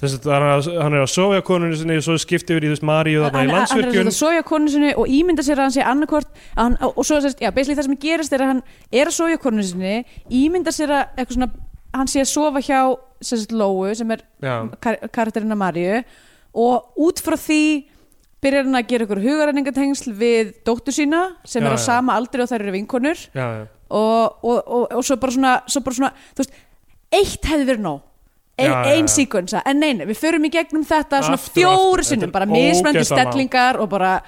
þess að hann er að- hann er að soja konunni sinni og svo skipti yfir í þess Marju hann, þarna hann í er að landsvirkjun þetta soja konu sinni og ímynda sér að hann sé annarkvort að hann, og og svo, sérst, já, basically það sem gerist er að hann er að soja konu sinni ímynda sér að eitthvað svona hann sé að sofa hjá sérst, Lóu sem er Já. kar karakterina Marju og út frá því byrjar hann að gera ykkur hugaræningatengsl við dóttur sína sem Já, er á já. sama aldri og þær eru vinkonur já, já. og, og, og, og svo, bara svona, svo bara svona þú veist, eitt hefði verið nóg ein, Já, já, ein já. síkvensa, en neina við förum í gegnum þetta svona Aftur og aftur. fjóru Þetta er sinnum, bara mismöndi ógeðslega langt. stellingar og bara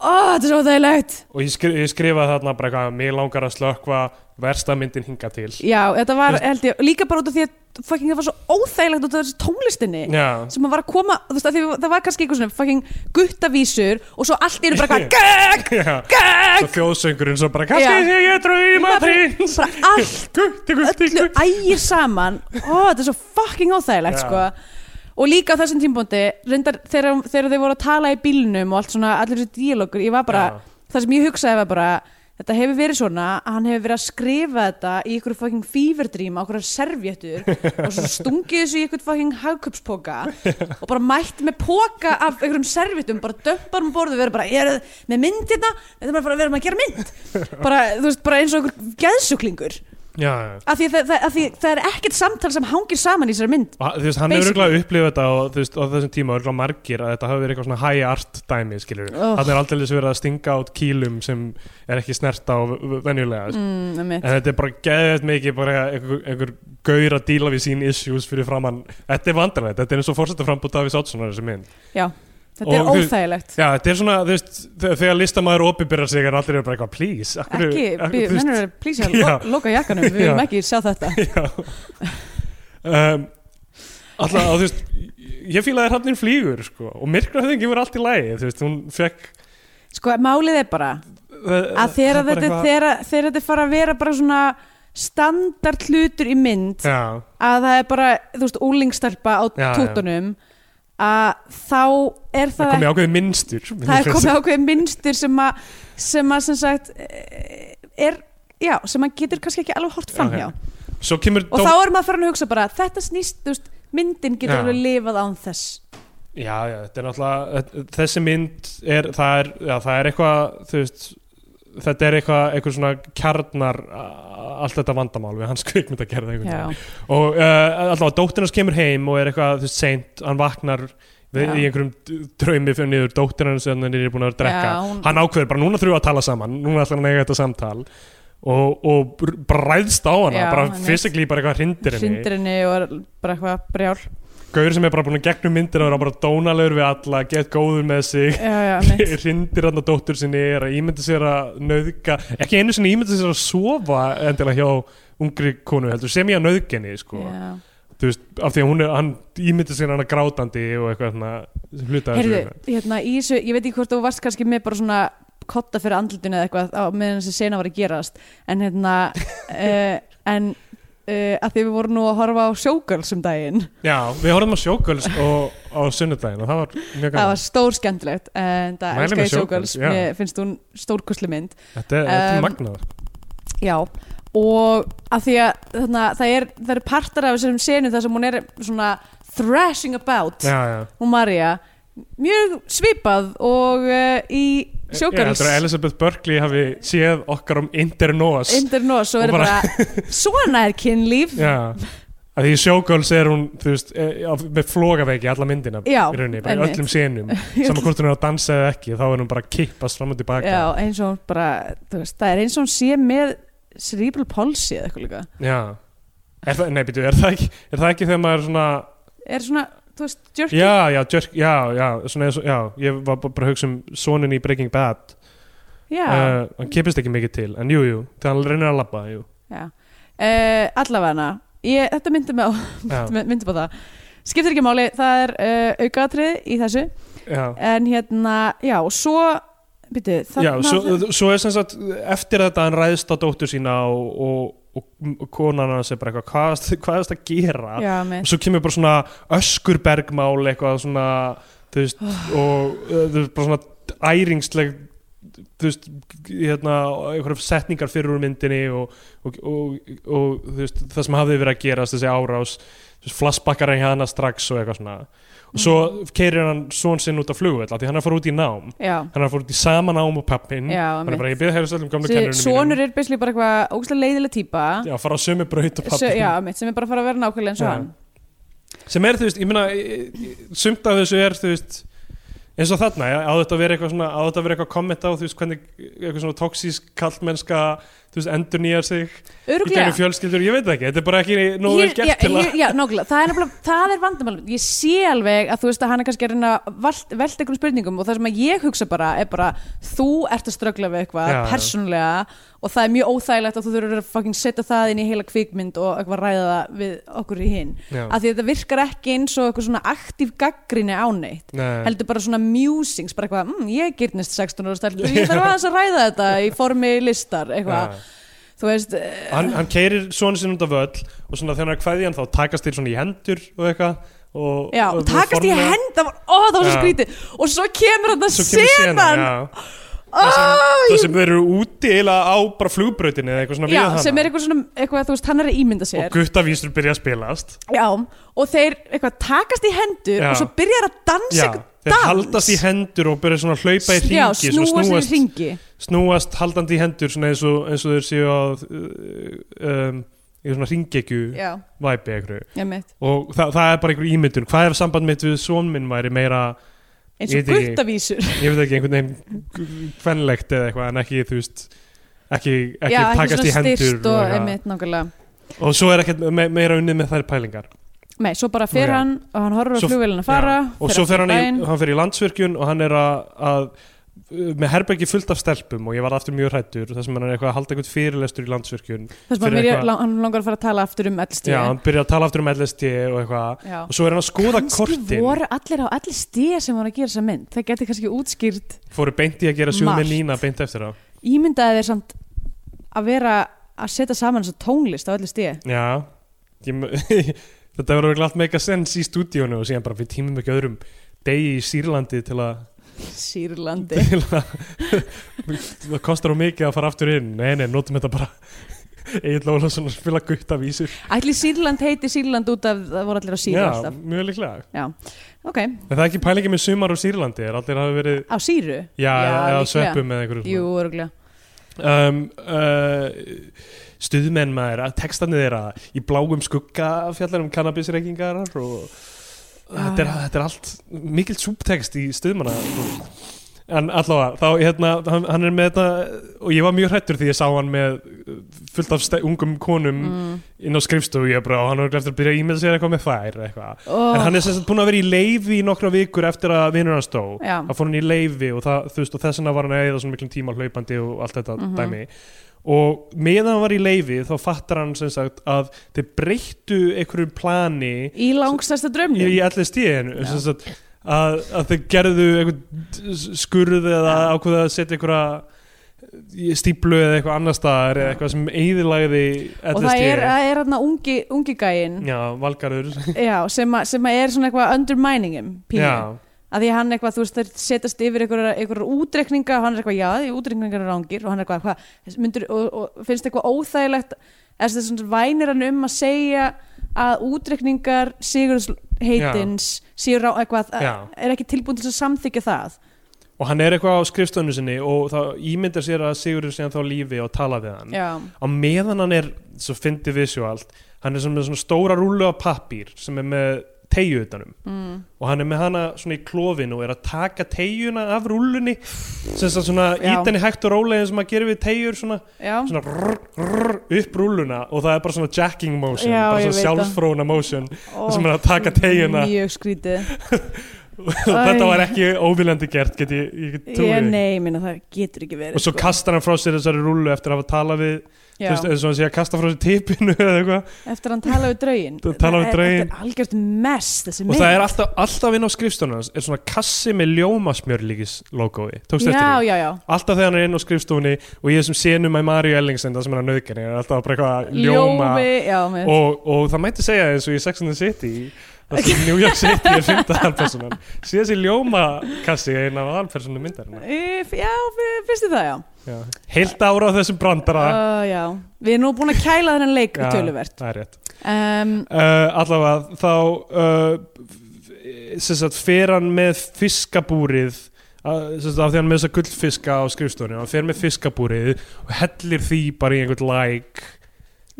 ó, þetta er svo þægilegt og ég, skri, ég skrifaði þarna bara eitthvað mér langar að slökva versta myndin hinga til já, þetta var, Þú held ég, líka bara út af því að fucking það var svo óþægilegt út af þessu tónlistinni já, sem að var að koma, þú veist, að því, það var kannski eitthvað svona fucking guttavísur og svo allt eru bara eitthvað gæk, já. gæk svo þjóðsöngurinn svo bara kannski Já. sé ég drauma prins bara allt gutti, gutti, öllu gutti ægir saman ó, þetta er svo fucking óþægilegt Já. sko. og líka á þessum tímpóndi reyndar, þegar, þegar þau voru að tala í bílnum og allt svona, allir þessu díalogur ég var bara, Já. það sem ég hugsaði var bara þetta hefur verið svona, að hann hefur verið að skrifa þetta í ykkur fucking fíverdrým á ykkur servjettur og svo stungið þessu í ykkur fucking hagköpspoka og bara mætt með poka af ykkurum servjettum, bara dömpar um borðu og verið bara, ég er með mynd hérna þetta er bara að vera að gera mynd bara, þú veist, bara eins og ykkur geðsjúklingur já, já. af því, að það, það, af því það er ekkert samtal sem hangir saman í þessari mynd Og hann- Þú veist, hann hefur Basically. örgulega upplifað þetta og, þú veist, á þessum tíma örgulega margir að þetta hafi verið eitthvað svona high art dæmi, skiljur við. Oh. Þannig er aldrei verið að stinga át kýlum sem er ekki snert á v- v- venjulega. Mm. mm, einmitt. En þetta er bara geðveikt mikið bara einhver, einhver gaur að díla við sín issues fyrir framann. Þetta er vandrarlegt, þetta er eins og fórsettar frambúta við sátssonar þessi mynd. já, þetta er Og þú- óþægilegt Já, þetta er svona, þú veist, þe- þegar listamaður opinberar sig en allir eru bara eitthvað, please. af hverju- ekki, af- byrju, eh, þú veist- mennur er plísja Já. loka jakkanum, við viljum Já. ekki sjá þetta Já um, Alltaf, á, þú veist Ég fílaði hrafnin flýgur, sko Og myrkrafðingi voru allt í lagi, þú veist Hún fekk sko, málið er bara að þegar þetta, þegar, þegar þetta er fara að vera bara svona standard hlutur í mynd Já, að það er bara, þú veist, úlingstarpa á Já, já. tóttunum að þá er það það komið ákveðið sko. minnstur það er komið ákveðin minnstur sem að sem að sem sagt eh, er, já, sem að getur kannski ekki alveg hort framhjá Já, Svo kemur og þá er maður farin að hugsa bara þetta snýst, þú veist, myndin getur Já. alveg lifað án þess Já, já, þetta er náttúrulega Þessi mynd er, það er, já, það er eitthvað Þú veist Þetta er eitthvað, eitthvað svona kjarnar a- allt þetta vandamál við hans kvikmynd að gera það og uh, allavega dóttir hans kemur heim og er eitthvað þú veist seint, hann vaknar við, Já. í einhverjum d- draumi fyrir niður dóttir hans en hann er búin að vera að drekka Já, hún- hann ákveður bara núna þurfum við að tala saman núna ætlar hann að eiga þetta samtal og, og br- bara ræðst á hana Já, bara einmitt. fysikli bara eitthvað hrindir henni hrindir henni og er bara eitthvað brjál gaur sem er bara búin að gegnum myndir og er bara dónalegur við alla, get góður með sig já, já, mitt hrindir hann að dóttur sinni er að ímynda sér að nöðga ekki einu sinni ímynda sér að sofa endilega hjá ungri konu heldur sem ég að nöðgenni sko já. þú veist, af því að hún er, hann ímyndir sér hana grátandi og eitthvað svona hluta af Heyrðu, þessu. hérna, í þessu, ég veit ekki hvort þú varst kannski með bara svona kotta fyrir andlutinu eða eitthvað á meðan þessi sena var að gerast en hérna uh, en uh, að því við vorum nú að horfa á Showgirls um daginn, Já, við horfum á Showgirls og á sunnudaginn og það var mjög það gaman var stór skemmtilegt en það Mælum elska með ég Showgirls, Showgirls, já. mér finnst hún stórkoslu mynd Þetta er um, um, magnað Já, og að því að þarna, það, er, það er partar af þessum senum þar sem hún er svona thrashing about, Já, já hún Marja mjög svipað og uh, í Ég Showgirls heldur að Elizabeth Berkley hafi séð okkar um Internos Internos og Og er bara, svona er kynlíf já, Já, af því í Showgirls er hún, þú veist, eh, á- með flogaveiki alla myndina Já, í rauninni, bara í einmitt. öllum senum saman hvort hún er að dansa eða ekki, þá er hún bara að kippast fram og tilbaka eins og hún bara þú veist, það er eins og hún sé með cerebral palsy eða eitthvað líka Já. Er það, nei, býtu, er það ekki, er það ekki þegar maður er svona er svona, þú veist, jerky já, já, jerk, já, já, svona, eins og- já ég var bara bara að hugsa um sonin í Breaking Bad já, uh, hann kipist ekki mikið til, en jú, jú þegar hann reynir að labba, jú já. Uh, allavega ég, þetta myndi, með, já, myndi bara það skiptir ekki máli, það er uh, aukaðatrið í þessu já. en hérna, já, og svo byrju, já þarna svo, svo er sem sagt eftir þetta hann ræðist á dóttur sína og, og, og, og konan hans er bara eitthvað hvað, erst- hvað er þetta að gera já, með, og svo kemur bara svona öskurbergmál eitthvað svona þú veist, Ah. og uh, þú veist, bara svona æringsleg þú veist, hérna, einhverjum setningar fyrir úr myndinni og, og, og, og þú veist, það sem hafði verið að gerast þessi árás, þú veist, flassbakkar hann hana strax og eitthvað svona og svo Mm. keirir hann són sinn út af flugvöld því hann er að fara út í nám, já, hann er að fara út í sama nám og pappin, já, hann er með bara ég byrði að um hefða öllum gamlu kennurinn sonur er byrju bara eitthvað ógæslega leiðilega típa já, fara á sömu braut og Sö, pappin já, mitt, sem er bara að fara að vera nákvæmlega eins og Já. hann sem er þú veist, ég meina ég- ég- sumt af þessu er þú veist eins og þarna, já, á þetta að vera eitthvað svona á þetta að vera eitthvað komment á, þú veist, hvernig eitthvað svona toksísk kallmennska þú veist, endur nýjar sig í Öruglega gegnum fjölskyldur, ég veit það ekki, þetta er bara ekki nógu vel já, gert til hér, að já, nákvæmlega, það er, nefnilega- það er vandamál ég sé alveg að þú veist að hann er kannski að reyna að velt, velta einhverjum spurningum og það sem að ég hugsa bara er bara þú ert að ströggla við eitthvað Já, já. persónulega og það er mjög óþægilegt að þú þurfur að fucking setja það inn í heila kvikmynd og eitthvað ræða það við okkur í hinn Já. að því að þetta virkar ekki eins og eitthvað svona aktív gaggrinni á neitt Nei. heldur bara svona musings, bara eitthvað mm, ég gyrnist 16 ára stelpur, ég þarf aðeins að ræða þetta í formi listar, eitthvað Já. þú veist, eh, hann, hann keirir svona sinni út af völl og svona þegar hann er kveðjan þá takast þeir svona í hendur og eitthvað og, Já, og takast í formlega- hend það var, ó, það var svo Já. skrítið og svo kemur hann að Svo kemur senan já. Það sem- það sem þeir eru úti eiginlega á bara flugbrautinu eða eitthvað svona já, við hana. sem er eitthvað svona, eitthvað, þú veist, hann er að ímynda og sér guttavísur byrja að spilast já, og þeir eitthvað takast í hendur Já. og svo byrjar að dansa Já, eitthvað þeir dans haldast í hendur og byrja svona að hlaupa í ringi já, svona snúast í ringi snúast haldandi í hendur svona eins og, eins og þeir séu á uh, um, í svona ringekju já, væpi einhverju ég mitt og þa það er bara einhver ímyndun hvað ef samband mitt við són minn væri meira eins Ég og veit ekki. guttavísur ég veit ekki einhvern veginn kvenlegt eða eitthvað en ekki þú veist ekki, ekki já, takast í hendur styrst og eitthvað. einmitt nákvæmlega og svo er ekkert me meira unnið með þær pælingar nei, svo bara fer Já. hann og hann horfur á Svo- flugvélina fara Já. og svo fer hann, aftur í, hann fer í landsvirkjun og hann er að, að með herbergi fullt af stelpum og ég var aftur mjög hrættur þar sem hann er eitthvað að halda eitthvað fyrirlestur í landsvirkjun bæinn. þess fyrir að mér- eitthvað- lang- hann langar að fara að tala aftur um já, eldstíð hann byrja að tala aftur um LSD og eitthvað já. og svo er hann að skoða kannski kortin voru allir á allir stíða sem voru að gera þessa mynd það geti kannski útskýrt fóru beint í að gera sjóð Margt. með Nína beint eftir það ímyndaði þér samt að vera að setja saman þessa tónlist á allir stíði já ég, mu- þetta verður allt mega sens í stúdíónu og síðan bara við tímum ekki öðrum degi í Sýrlandi til að Sýrlandi til að það kostar hún mikið að fara aftur inn nei, nei, notum þetta bara Egil Ólafsson að spila gutta vísir Ætli Sýrland heiti Sýrland út af það voru allir á Sýru já, alltaf mjög líklega Já, ok, en það er ekki pælingi með sumar á Sýrlandi er allir hafa verið á Sýru já, eða líklega. sveppum eða einhverju Jú, svona. örgulega um, uh, stuðmenn maður að textarnir þeirra í bláum skugga fjallar um kannabisreikingar og þetta er, já. þetta er allt mikil súptext í stuðmanna en allavega, þá hérna hann, hann er með þetta, og ég var mjög hrættur því ég sá hann með uh, fullt af ste- ungum konum mm. inn á skrifstofu ég bara, og hann er eftir að byrja að ímynda sér eitthvað með þær eitthvað. en oh, hann er sem sagt búin að vera í leifi í nokkra vikur eftir að vinnur hann stó Já, þá fór hann í leifi og, það, þú veist, og þess vegna var hann að eða svona miklum tíma hlaupandi og allt þetta Mhm. dæmi og meðan hann var í leifi þá fattar hann sem sagt að þeir breyttu einhverju plani í langstæsta í, draumnum í allir stíðinu Já. sem sagt að, að þeir gerðu einhvern skurð eða Já. ákveða að setja einhverja í stíplu eða eitthvað annar staðar eða eitthvað sem eyðilagði Og það er, það er hann ungi, ungi gæinn Já, valgarður Já, sem, a, sem að er svona eitthvað undermining him pínu. Já, að því að hann eitthvað, þú veist, þeir setjast yfir einhverjar einhverjar útrekninga og hann er eitthvað, já, því útrekningar er rángir og hann er eitthvað, hvað, myndur, og, og finnst eitthvað óþægilegt, eða þess að vænir hann um að segja að útrekningar Sigurðs heitins séu rá, eitthvað, Já. er ekki tilbúin til að samþykja það og hann er eitthvað á skrifstöðunni sinni og þá ímyndar sér að Sigurður sé hann þá á lífi og tala við hann já, á meðan hann er, svo fyndi visuált hann er sem með svona stóra rúlu af pappír sem er með tegju utanum mm. og hann er með hana svona í klófin og er að taka tegjuna af rúlunni sem þess að svona Já. ít henni hægt og rólega sem maður gerir við tegjur svona, já, svona rrr, rrr, upp rúluna og það er bara svona jacking motion Já, bara ég svona veit það. sjálfsfróna motion Ó, sem er að taka tegjuna mjög skrítið, og þetta var ekki óviljandi gert get ég, ég get trúið ég því. nei, ég minna það getur ekki verið og svo sko. kastar hann frá sér þessari rúlu eftir að hafa talað við þú Já. veist, eins og hann sé að kasta frá sér tipinu eða eitthvað eftir að hann tala við draugin Þú talar við Þetta er- drauginn. þetta er algjört mess þessi og mynd það er alltaf, alltaf inn á skrifstofunans er svona kassi með ljómasmjörlíkis logoi, tókst eftir já, því? já, já, Alltaf þegar hann er inn á skrifstofunni og ég sem senum að Mario Ellingsen það sem hann nöðgjörni, er alltaf bara eitthvað að ljóma Ljómi, já, með og, og það mætti segja eins og í Sex and the City það sem New York City er fymta alpersonan síðan þessi ljómakassi er einn af alpersonum myndarinn If, Eh, já, fi- finnst þið það, já. heilt ára á þessum brandara Uh, já. Við erum nú búin að kæla þennan leik Já, töluvert. það er rétt Um, uh, allavega þá uh, sem sagt fer hann með fiskabúrið að, sem sagt af því hann er með þessa gullfiska á skrifstofunni hann fer með fiskabúrið og hellir því bara í einhvern læk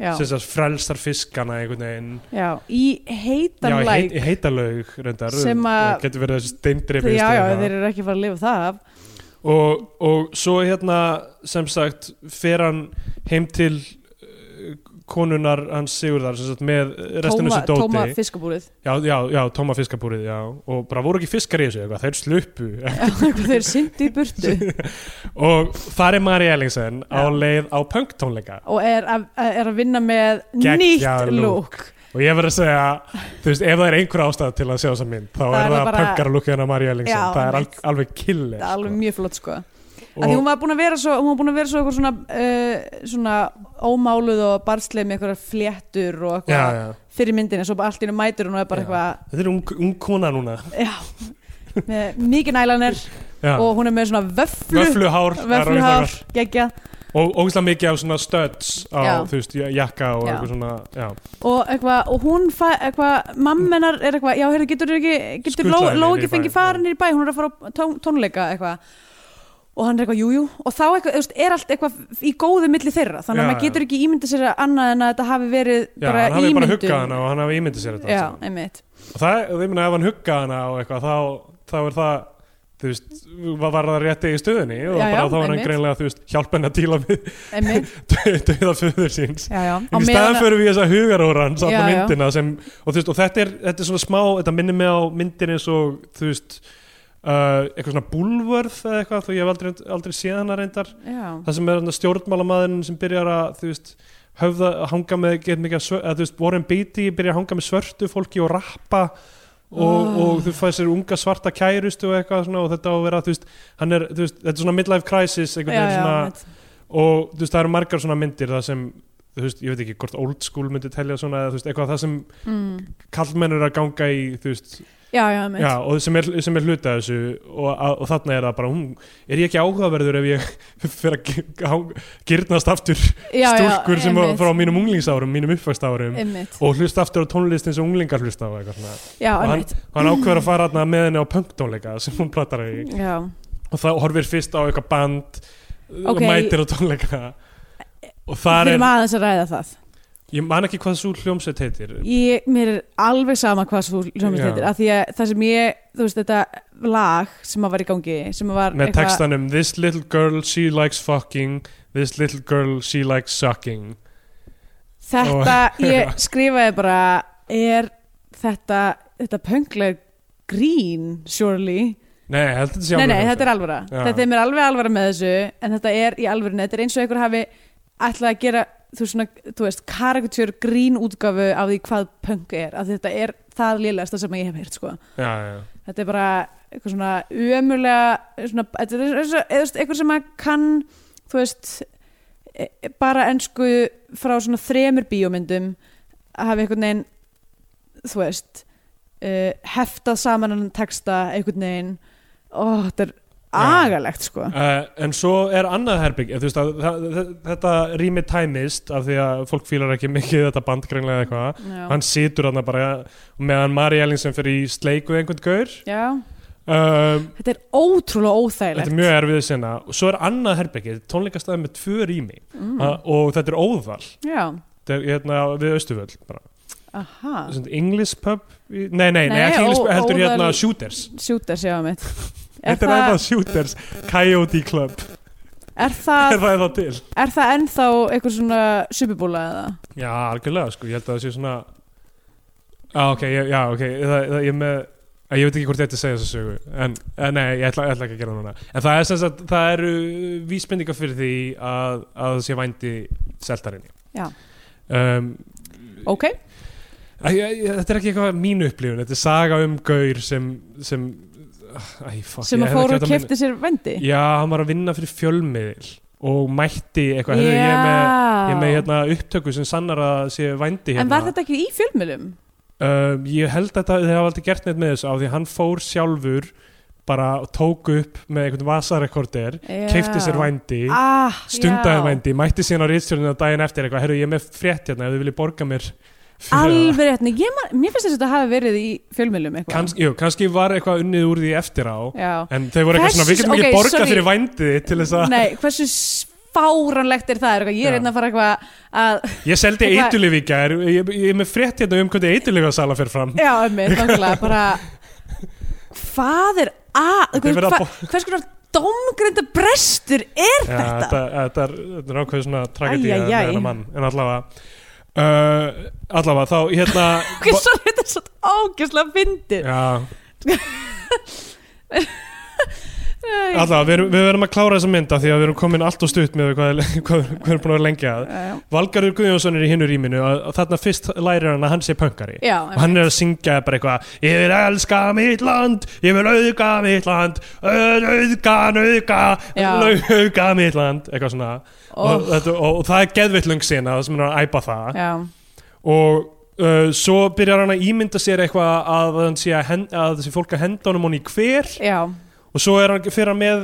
já, sem sagt frelstar fiskana einhvern veginn já, í heitan já, leik. heit, heitalög reyndar um, Sem að- Það getur verið þessi steindreif já, já, þeir eru ekki fara að lifa það af. og, og svo hérna sem sagt fer hann heim til uh, konunar hans Sigurðar sem sagt með restinu Tóma, sem dóti tóma fiskabúrið. Já, já, já, tóma fiskabúrið, já og bara voru ekki fiskar í þessu eitthvað, þeir sluppu Eitthvað þeir syndi í burtu og þar er Mari Ellingsen á Já. leið á punktónleika og er að, er að vinna með Geggjað nýtt lúk. lúk. og ég verð að segja, þú veist, ef það er einhver ástæð til að sjá þessa mynd, þá Það er er það bara- punkar að lukka hennar Mari Ellingsen Já, það er al, mitt. alveg killir Það er alveg mjög flott, sko. Og... Því og, hún var búin að vera svo, hún var búin að vera svo eitthvað svona, uh, svona ómáluð og barnsleif með eitthvað fléttur og já, eitthvað já. fyrir myndinni, svo bara allt í hennu mætur hún og er bara Já. eitthvað Þetta er ung, ung kona núna Já, með mikið nælanir já. og hún er með svona vöflu Vöfluhár, það er alveg vöfluhár, þakkar. geggja og ógislega mikið af svona stöds á, Já. þú veist, jakka og Já. eitthvað svona já. og, eitthva, og hún fæ, eitthva, mammenar er eitthvað, já heyrðu, getur ekki getur Skutlaði Ló- henni Ló niður í ekki fengið bæ, já. farin í bæ, hún er að fara á tón, tónleika eitthvað og hann er eitthvað jújú jú. og þá eitthvað, þú veist, er allt eitthvað í góðu milli þeirra þannig að Já, maður getur ekki ímyndið sér annað en að þetta hafi verið Já, bara hann hafi ímyndun bara huggað hana og hann hafi ímyndið sér þetta já, allt saman. einmitt og það, ég meina ef hann huggað hana og eitthvað þá, þá er það þú veist, var var það rétti í stöðunni og Já, bara já, þá var hann einmitt. greinlega, þú veist, hjálp henni að díla við einmitt, dauða föður síns já, já á En í staðan meðan- fyrir við þessa hugaróran Já, saman já. myndina sem, og, þú veist, og þetta, er, þetta er svona smá, þetta minnir mig á myndir eins og þú veist uh, eitthvað svona búlvörð eða eitthvað þú ég hef aldrei, aldrei séð hana reyndar já, það sem er þarna stjórnmálamæðurinn sem byrjar að þú veist höfða að hanga með get mikið að svör, að, þú veist Warren Beatty byrjar að hanga með svörtu fólki og rappa og, Ah. og þú fæði sér unga svarta kærustu og eitthvað svona og þetta á að vera þú veist, hann er, þú veist, þetta er svona midlife crisis einhvern já, veginn já, svona einmitt. og þú veist, það eru margar svona myndir það sem, þú veist, ég veit ekki hvort old school myndi telja svona, eða þú veist, eitthvað það sem Mm. kallmenn eru að ganga í þú veist, já, já, einmitt. já, og sem er, sem er hluta af þessu og, að- og þarna er það bara hún, er ég ekki áhugaverður ef ég fyrir að gi- gá- girnast aftur já, já, stúlkur sem var einmitt, frá mínum unglingsárum, mínum uppvægsárum einmitt, og hlusta aftur á tónlist eins og unglingar hlusta á eitthvað svona já, og hann, einmitt hann ákveður að fara þarna með henni á punktónleika sem hún platar í já, og þá horfir fyrst á eitthvað band og Ok. mætir á tónleika og þar við er erum aðeins að ræða það ég man ekki hvað svo hljómsveit heitir ég, mér er alveg sama hvað svo hljómið Já. þetta af því að það sem ég, þú veist, þetta lag sem að var í gangi, sem að var með textanum This little girl she likes fucking This little girl she likes sucking þetta, ég skrifaði bara er þetta þetta pönglega grín surely, Nei, ég held að þetta sé nei nei, alveg þetta er alvara Já. þetta er mér alveg alvara með þessu en þetta er í alvörinu, þetta er eins og einhver hafi ætlað að gera, þú, veist, svona, þú veist karakter grín útgafu af því hvað pöng er, af því þetta er það lélast sem ég hef heyrt, sko Já, já, já. þetta er bara eitthvað svona ömulega svona, þetta er eins og- eða þú veist, eitthvað sem að kann þú veist e- e- bara ensku frá svona þremur bíómyndum að hafa einhvern veginn þú veist uh, heftað saman hann texta einhvern veginn og þetta er Já. agalegt sko Uh, en svo er annað herbygg þú veist að það, það- þetta rými tæmist af því að fólk fílar ekki mikið þetta bandgreinlega eitthvað já, hann situr hann bara meðan Mari Ellingsson fyrir í sleiku einhvern gaur já. um, þetta er ótrúlega óþægilegt þetta er mjög erfið sinna og svo er annað herbyggið tónleikastæði með tvö rými mm. uh, og þetta er óðal já, þetta er hérna við Östuföll bara aha Svona English pub í- Nei, nei, nei, Ah. Nei, ekki English ó- pub, heldur óðal- hérna Shooters sjútars, já mitt er, Þetta er ennþá það, Shooters, Coyote Club er, það, Er það ennþá til? er það ennþá eitthvað svona subibúla eða? Já, algjörlega, sko, ég held að það sé svona Já, Ah, ok, ég- já, ok það, það, Ég er með að Ég veit ekki hvort ég ætti að segja þessa sögu en, en nei, ég ætla, ég ætla ekki að gera það núna En það er sem sagt, það eru vísbendingar fyrir því að, að það sé vændi seltarinni Já. um, Ok, Æ, æ, æ, þetta er ekki eitthvað mín upplifun þetta er saga um gaur sem sem, æ, fuck, sem ég að hefði ekki fóru og átt að minna- kefti sér vendi já, hann var að vinna fyrir fjölmiðil og mætti eitthvað yeah. ég er með, ég er með hérna, upptöku sem sannar að sé vændi hérna En var þetta ekki í fjölmjölum? um, ég held að þetta- þeir hafa aldrei gert neitt með þessu á því að hann fór sjálfur bara og tók upp með einhvern vasarekorder Já. kefti sér vændi ah, stundaði já. vændi, mætti síðan á rýðstjórnina daginn eftir eitthvað, herru ég er með frétt hérna ef þið viljið borga mér fyrir það." Alveg réttni, mér finnst þess að þetta hafi verið í fjölmjölum eitthvað Kanns, jú, kannski var eitthvað unnið úr því eftir á Já. en þau voru eitthvað Hversu- svona, við getum ekki ok, borgað sorry. fyrir vændið þitt til þess að Nei, hversu fáranlegt er það? Er eitthvað, Ég er Já. einnig að fara eitthvað að ég seldi Eitthvað- eitulif í gær ég, ég er með frétt hérna um hvernig eitulif að sala fyrir fram Já, um mig, þanglega, bara Hvað er að Þetta er verið að hva, Hvers konar domgrinda brestur er Já, þetta? þetta, þetta er, þetta er ákveð svona tragedía Æ, æ, með æ. hennar mann en allavega uh, allavega þá hérna Hvað svo þetta er svo ágjörslega fyndið já, allavega við, erum- við verum að klára þessa mynda því að við erum komin allt og stutt með hvað, er- hvað, er- hvað er búin að vera lengi að Valgarður Guðjónsson er í hinnu rýminu og og þarna fyrst lærir hann að hann sé pöngari Já, og hann er að syngja bara eitthvað ég vil elska mitt land, ég vil auðga mitt land auð- auðga, auðga Já. auðga mitt land eitthvað svona og, þetta, og, og það er geðvillung sína sem hann er að æpa það Já, og uh, svo byrjar hann að ímynda sér eitthvað að, hann sé að, hen, að þessi fólk að henda honum hann í hver já, og svo er hann fyrir hann með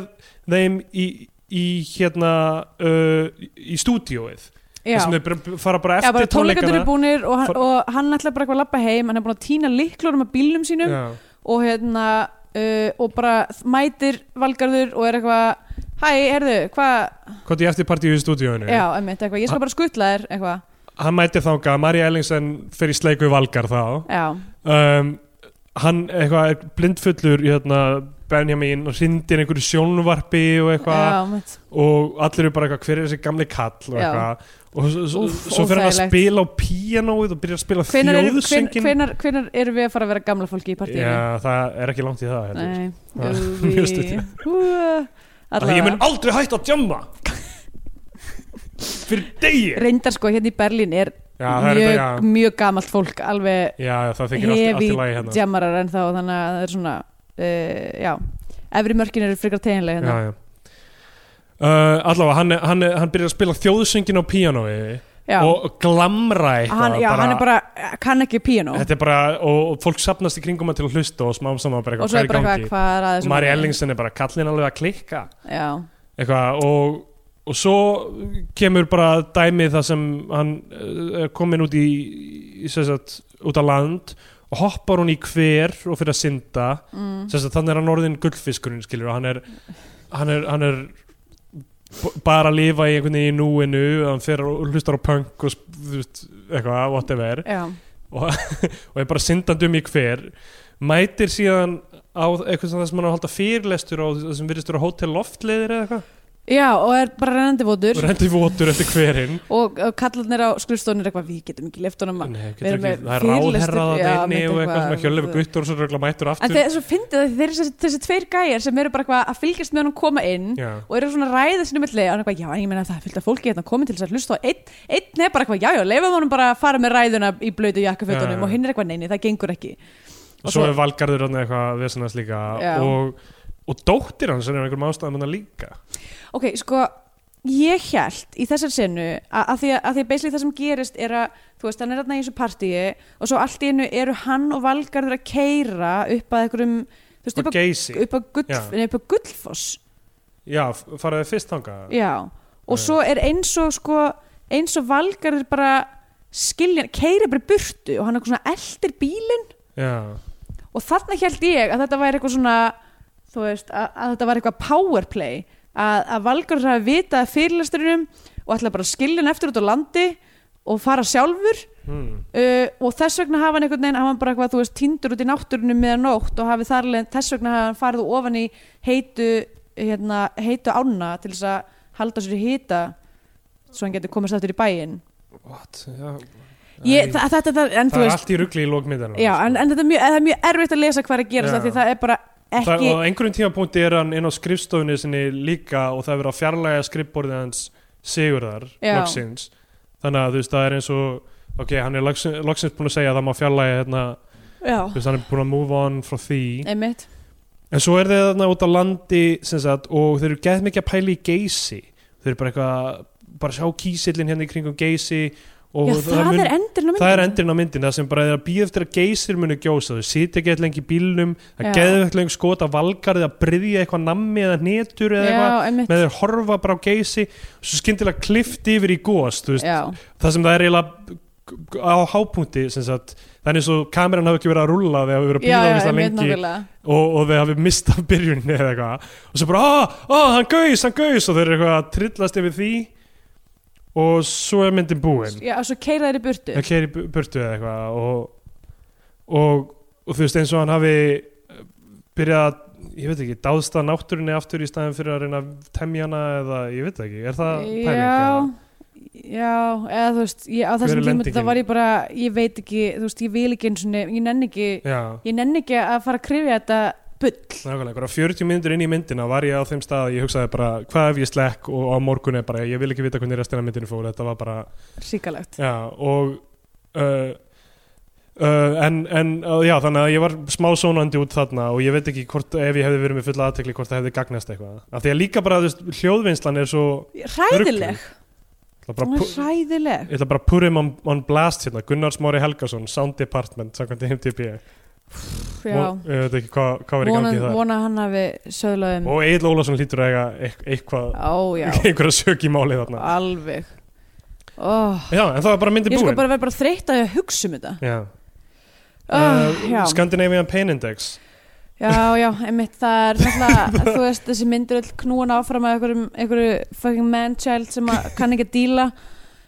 þeim í, í hérna uh, í stúdíóið já. þar sem þau bara- fara bara Já, eftir bara tónleikandur er tónleikana búnir og hann, Far- og hann ætla bara eitthvað að labba heim hann er búin að týna liklur um að bílnum sínum Já. og hérna uh, og bara mætir valgarður og er eitthvað hæ, herðu, hvað Hvað er eftir partíu í stúdíóinu? já, emmitt, eitthvað, ég skal bara skutla þér eitthvað, Hann mætir þangað, Marja Ellingsen fer í sleiku við Valgar þá já, um, Hann eitthvað er blindfullur í hérna Benjamin og hrindir einhverju sjónvarpi og eitthvað já, emmitt og allir eru bara eitthvað hver er þessi gamli kall og Já. eitthvað og svo, svo, Úff, svo fyrir hann að óþægilegt. spila á píanóið og byrja að spila hvenar eru hven, þjóðsöngin hvenar, hvenar eru við að fara að vera gamla fólki í partíinu Já, það er ekki langt í það heldur. nei, Já, jú, mjög við stutt. Hú, Af því Ég mun allavega aldrei hætta að djamma Fyrir degi Já, reyndar sko hérna í Berlín er það er mjög, þetta, já mjög gamalt fólk alveg Já, það þykir allt, allt hefi í lagi hérna djamarar en þá þannig að það er svona uh, já, efri mörkin eru frekar teginlega hérna. já, já. Uh, allavega, hann, er- hann, er- hann byrjar að spila þjóðsöngin á píanói já. og glamra eitthvað hann, já, hann er bara, kann ekki píano þetta er bara, og, og fólk sapnast í kringum hann til að hlusta og smám saman bara og svo er bara hvað, hvað hvað er aðeins og Mari Ellingsen er bara kallin alveg að klikka já, eitthvað og, og svo kemur bara dæmið það sem hann eh, er komin út í, í sem sagt, út á land og hoppar hún í hver og fyrir að synda mm, sem sagt, þannig er hann orðin gullfiskurinn skilur og hann er, hann er, hann er b- bara að lifa í einhvern veginn í núinu hann fer og hlustar á punk og sp- þú veist, eitthvað, whatever já, og er bara syndandi um í hver mætir síðan á eitthvað sem það sem hann er að halda fyrirlestur á það sem virðist vera hótel loftleiðir eða eitthvað já, og er bara rennandi votur og rendi votur eftir hverinn og, og kallarnir á skrifstónir eitthvað, við getum ekki left honum að Nei, Við getur erum ekki, með það er ráðherrað fyrirlestur- að Já, inni mitt og eitthvað eitthvað- sem er hjöllefi guttur og svo rögla mætur en aftur það er svo fyndið að þeir eru þessi, þessi tveir gæjar sem eru bara eitthvað að fylgjast með honum koma inn Já. og eru svona ræðið sinni milli og hann eitthvað, já, en ég meina það er fullt af fólki hérna komið til þess að hlusta og einn, einn er bara eitthvað, já, já, leifum honum bara að fara með ræðuna í blötu jakkafötunum Já. og hinn er eitthvað, neini, það gengur ekki og svo er valgarður hann eitthvað vesenast líka Já. og, og dóttir hans er af einhverjum ástæðum hann líka ok, sko, ég held í þessar senu að, að því að, að því að basically það sem gerist er að, þú veist, hann er þarna í þessu partíi og svo allt í einu eru hann og Valgarður að keira upp að einhverjum, þú veist, og upp að, geysi, upp að, gull, Já. nei, upp að gullfoss já, faraði fyrst þangað Já, og Já. svo er eins og sko, eins og valgarður bara skilja, keira bara í burtu og hann er eitthvað svona eldir bílinn já, og þarna held ég að þetta væri eitthvað svona þú veist, að, að þetta var eitthvað powerplay að, að valgarður hafi vitað af fyrirlesturinnum og ætla bara að skilja hann eftir út á landi og fara sjálfur hmm. uh, og þess vegna hafa hann einhvern veginn hafa hann bara eitthvað, þú veist, tindur út í náttúrunum meðan nótt og hafi þar leðin, þess vegna hafa hann farið ofan í heitu hérna, heitu ána til þess að halda sér í hita svo hann getur komast aftur í bæin what já, ég, Æ, það, þetta, það, en það þú er veist allt í rugli í lókmyndana já, en, en þetta er mjög, það er mjög erfitt að lesa hvað er að gerast Já. af því það er bara Það, ekki og á einhverjum tímapunkti er hann inn á skrifstofunni sinni líka og það er verið að fjarlæga skrifborðið hans Sigurðar Já. loksins þannig að þú veist það er eins og ok, hann er loksins, loksins búin að segja að það má fjarlæga hérna, já, þú veist hann er búin að move on frá því einmitt en svo er þeir þarna út á landi sem sagt, og þeir eru gett mikið að pæla í geysi þeir eru bara eitthvað bara sjá kísillin hérna í kringum geysi og já, það mun- er endurinn á myndinni það er endurinn á myndin það sem bara er að býða eftir að geysir muni gjósa þau sitja ekki lengi í bílnum Já. það geðu ekki lengi skota valgarði að bryðja eitthvað nammi eða netur eða já, eitthvað einmitt með þeir horfa bara á geysi svo skyndilega klift yfir í gós þú veist, já, það sem það er eiginlega á hápunkti sem sagt þannig svo kameran hafi ekki verið að rúlla þegar hafi verið að já, býða já, þess að einmitt lengi nákvæmlega og, og þeir hafi mistað byrjunni eða eitthvað og svo bara, ah, ah, hann gaus, hann gaus og þeir eru eitthvað að trillast yfir því og svo er myndin búin já, og svo keira þeir í burtu að keira í bu- burtu eða eitthvað og, og, og þú veist eins og hann hafi eh, byrjað að, ég veit ekki, dáðst að náttúrunni aftur í staðin fyrir að reyna að temja hana eða ég veit ekki, er það pæling? já, já, eða þú veist ég, á Hver þessum er tíma lendingin? það var ég bara ég veit ekki, þú veist, ég vil ekki eins og ég nenn ekki, Eða? Já, ég nenn ekki að fara að krifja þetta bull nákvæmlega, einhverja 40 minnir inn í myndina var ég á þeim stað að ég hugsaði bara hvað ef ég slekk og á morgun er bara ég vil ekki vita hvernig restina af myndinu fór, þetta var bara síkalegt, Já, og uh, uh, en, en uh, já, þannig að ég var smá sónandi út þarna og ég veit ekki hvort, ef ég hefði verið með fulla aðtekli hvort það hefði gagnast eitthvað af því að líka bara, þú veist, hljóðvinnslan er svo hræðileg ég ætla hún bara, er pu- hræðileg ég ætla bara að put him on, on blast hérna, Gunnar Smári Helgason Sound Department, samkvæmt IMDb Pff, já, og ég veit ekki hvað hva var í vona, gangi það vona hann hafi söðlaðum, og Egil Ólafsson lítur að eiga eit- eitthvað, á já einhverja sök í máli þarna alveg oh. já, en það var bara myndi ég sko búin bara verð bara þreytt að hugsa um þetta Já. Ah, Uh, já. Scandinavian Pain Index Já, já, einmitt, það er náttúrulega, þú veist, þessi myndir öll knúan áfram af einhverjum, einhverju fucking man-child sem að kann ekki að díla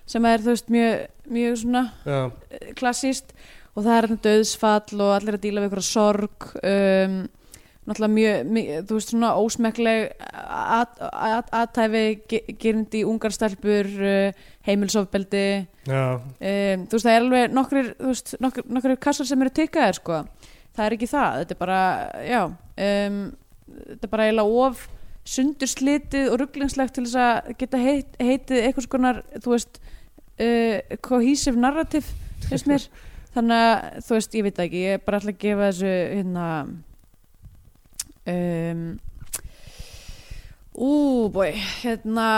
sem er, þú veist, mjög, mjög svona já, eh, klassíst og það er þarna döðsfall og allir að díla við einhverja sorg um, náttúrulega mjög, mjög, þú veist, svona ósmekkleg at- at- athæfi ge- gerindi ungarstelpur uh, heimilsofbeldi já, um, þú veist það er alveg nokkrir, þú veist, nokkur, nokkur kassar sem eru tikkaðir sko það er ekki það, þetta er bara já, um, þetta er bara eiginlega of sundurslitið og rugglingslegt til þess að geta heit, heitið eitthvað skonar, þú veist uh, cohesive narrative finnst mér, þannig að þú veist, ég veit það ekki, ég er bara ætla að gefa þessu hérna um, ú, bói hérna